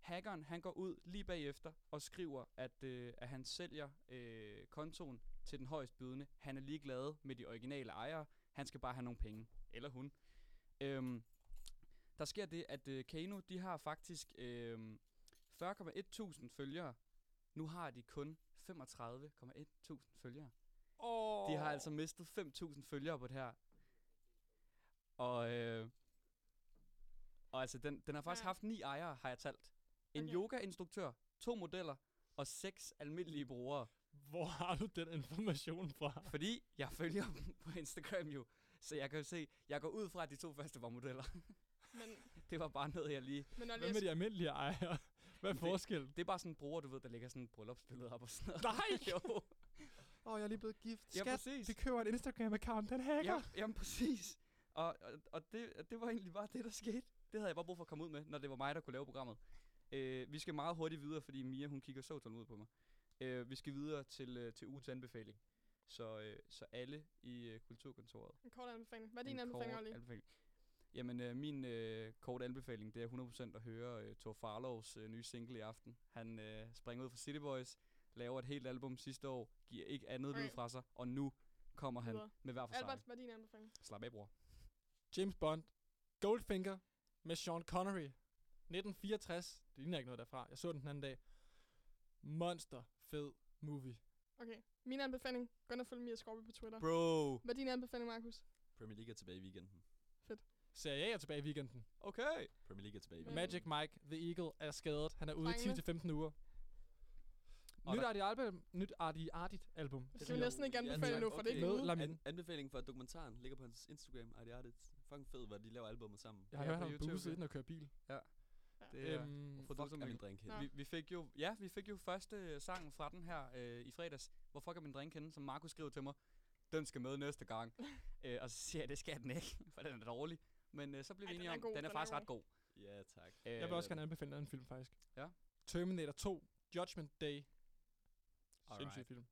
Hackeren, han går ud lige bagefter og skriver, at, øh, at han sælger øh, kontoen til den højst bydende. Han er ligeglad med de originale ejere. Han skal bare have nogle penge. Eller hun. Øhm, der sker det, at øh, Kano, de har faktisk øh, 40,1.000 følgere. Nu har de kun 35,1.000 følgere. Oh. De har altså mistet 5.000 følgere på det her. Og, øh, og altså, den, den har faktisk haft ni ejere, har jeg talt. En okay. yoga-instruktør, to modeller og seks almindelige brugere. Hvor har du den information fra? Fordi jeg følger dem på Instagram jo, så jeg kan jo se, jeg går ud fra, at de to første var modeller. <laughs> Men, det var bare noget, jeg lige... Men Hvad med de almindelige ejere? Hvad er forskellen? Det er bare sådan en bruger, du ved, der lægger sådan et bryllupsbillede op og sådan noget. Nej! <laughs> jo. Åh, oh, jeg er lige blevet gift. Ja, Skat, præcis. vi køber en Instagram-account, den hacker. Ja, jamen præcis. Og, og, og det, og det var egentlig bare det, der skete. Det havde jeg bare brug for at komme ud med, når det var mig, der kunne lave programmet. Øh, vi skal meget hurtigt videre, fordi Mia, hun kigger så tålmodigt på mig. Øh, vi skal videre til, øh, til ugens anbefaling. Så, øh, så alle i øh, Kulturkontoret. en kort anbefaling. Hvad er din En anbefaling, kort Olli? anbefaling. Jamen, øh, min øh, korte anbefaling, det er 100% at høre øh, Thor Farlows øh, nye single i aften. Han øh, springer ud fra City Boys, laver et helt album sidste år, giver ikke andet lyd Okay. fra sig, og nu kommer han Videre. med hver for sig. Albert, hvad er din anbefaling? Slap af, bror. James Bond, Goldfinger med Sean Connery. 1964. Det ligner ikke noget derfra. Jeg så den den anden dag. Monster fed movie. Okay. Min anbefaling, gå ind og følg Mia Skorby på Twitter. Bro. Hvad er din anbefaling, Markus? Premier League er tilbage i weekenden. Serie A er tilbage i weekenden. Okay. Premier League er tilbage i Mm. weekenden. Magic Mike, The Eagle, er skadet. Han er ude Drengene. i 10-15 uger. Og Nyt der- Artie album. Nyt Artie Artit album. Det skal vi næsten ikke anbefale nu, for det er Okay. ikke Med ude. Lamin. An- anbefaling for dokumentaren ligger på hans Instagram. Ej, det er det fucking fed, hvor de laver albumet sammen. Jeg har hørt ham buset inden og køre bil. Ja. Det er Øhm, for Fuck, er min drink henne? vi, vi, fik jo, ja, vi fik jo første øh, sang fra den her øh, i fredags. Hvor fuck er min drink henne, som Markus skrev til mig. Den skal med næste <laughs> gang. øh, og så siger jeg, det skal den ikke, <laughs> for den er dårlig. Men øh, så blev Ej, vi den enige er om, god, den er den er faktisk god. ret god. Ja, tak. Øh, Jeg vil også gerne anbefale en anden film, faktisk. Ja. Terminator 2, Judgment Day. Alright. Sindssyg film.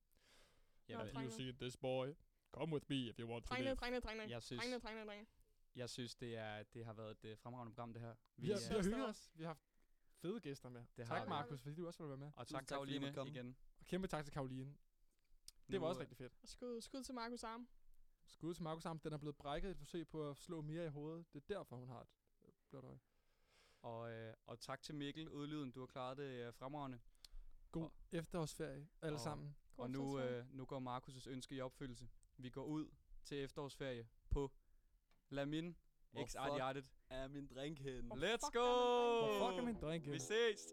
Jamen, Have you seen this boy? Come with me if you want to Drengene, live. drengene, drengene. Jeg synes- Drengene, drengene, drengene. Jeg synes, det, er, det har været et øh, fremragende program, det her. øh, Vi, har, vi er- har hygget os. Vi har haft fede gæster med. Det har tak, vi. Markus, fordi du også ville være med. og Tusind tak, tak, fordi I måtte Karoline, komme. igen. Og kæmpe tak til Karoline. Det var Nu, også øh, rigtig fedt. Og skud, skud til Markus Arm. Skud til Markus Arm. Den er blevet brækket i et forsøg på at slå mere i hovedet. Det er derfor, hun har et øh, blåt øje. Og, øh, og tak til Mikkel, udlyden. Du har klaret det øh, fremragende. God Og- efterårsferie, alle og- sammen. God og nu, efterårsferie. øh, nu går Markus' ønske i opfyldelse. Vi går ud til efterårsferie på Lamin Hvor x fuck Artet. Er min drink henne? Let's go! Hvor fuck er min drink Vi henne? ses!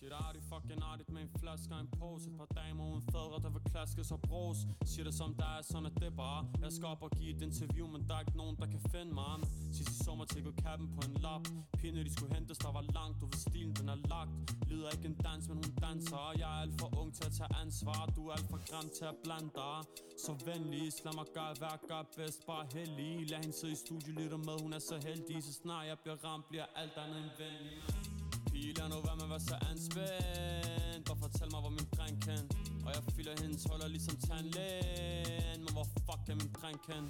Shit, fucking artigt med en flaske og en pose Et par damer uden fædre, der vil klaskes og bros Siger det som der er, sådan at det bare Jeg skal op og give et interview, men der er ikke nogen, der kan finde mig Am. Sidste sommer tækkede kappen på en lap Pinde, de skulle hentes, der var langt Du ved stilen, den er lagt Lyder ikke en dans, men hun danser Og jeg er alt for ung til at tage ansvar Du er alt for grim til at blande dig Så venligst, lad mig gøre, hvad jeg gør bedst Bare heldig, lad hende sidde i studiet Lytter med, hun er så heldig Så snart jeg bliver ramt, bliver alt andet end venlig Pige, lad nu være med at være så anspændt Bare fortæl mig, hvor min dreng kan Og jeg fylder hendes huller ligesom tandlægen Men hvor fuck er min dreng kan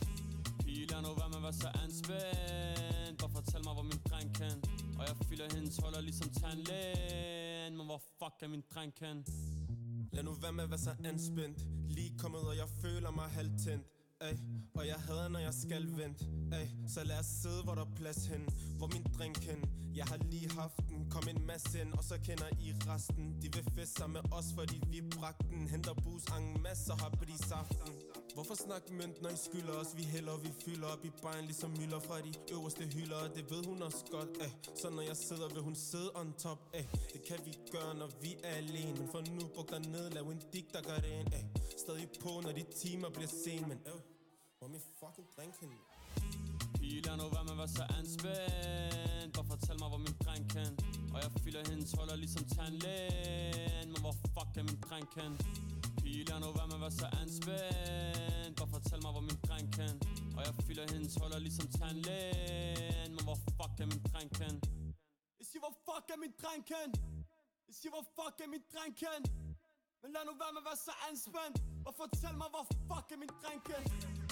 Pige, lad nu være med at være så anspændt Bare fortæl mig, hvor min dreng kan Og jeg fylder hendes huller ligesom tandlægen Men hvor fuck er min dreng kan Lad nu være med at være så anspændt Lige kommet, og jeg føler mig halvtændt Ay, og jeg hader, når jeg skal vente Ay, Så lad os sidde, hvor der er plads hen Hvor min drink hen Jeg har lige haft den Kom en masse ind, og så kender I resten De vil feste sammen med os, fordi vi bragte den Henter bus, en masse og hopper i saften Hvorfor snakke mønt, når I skylder os? Vi hælder, vi fylder op i bejen ligesom mylder fra de øverste hylder Og det ved hun også godt, ay. Så når jeg sidder, vil hun sidde on top, ay. Det kan vi gøre, når vi er alene Men for nu, brug dig ned, lav en dig, der gør det ind, ay. Stadig på, når de timer bliver sen, men øv Hvor er min fucking drink henne? Pige, lad nu være med at være så anspændt Bare fortæl mig, hvor min dreng kan Og jeg fylder hendes huller ligesom tandlægen Men hvor fuck er min dreng kan Pige, lad nu være med at være så anspændt Bare fortæl mig, hvor min dreng kan Og jeg fylder hendes huller ligesom tandlægen Men hvor fuck er min dreng kan Jeg siger, hvor fuck er min dreng kan Jeg siger, hvor fuck er min dreng kan Men lad nu være med at være så anspændt Og fortæl mig, hvor fuck er min dreng kan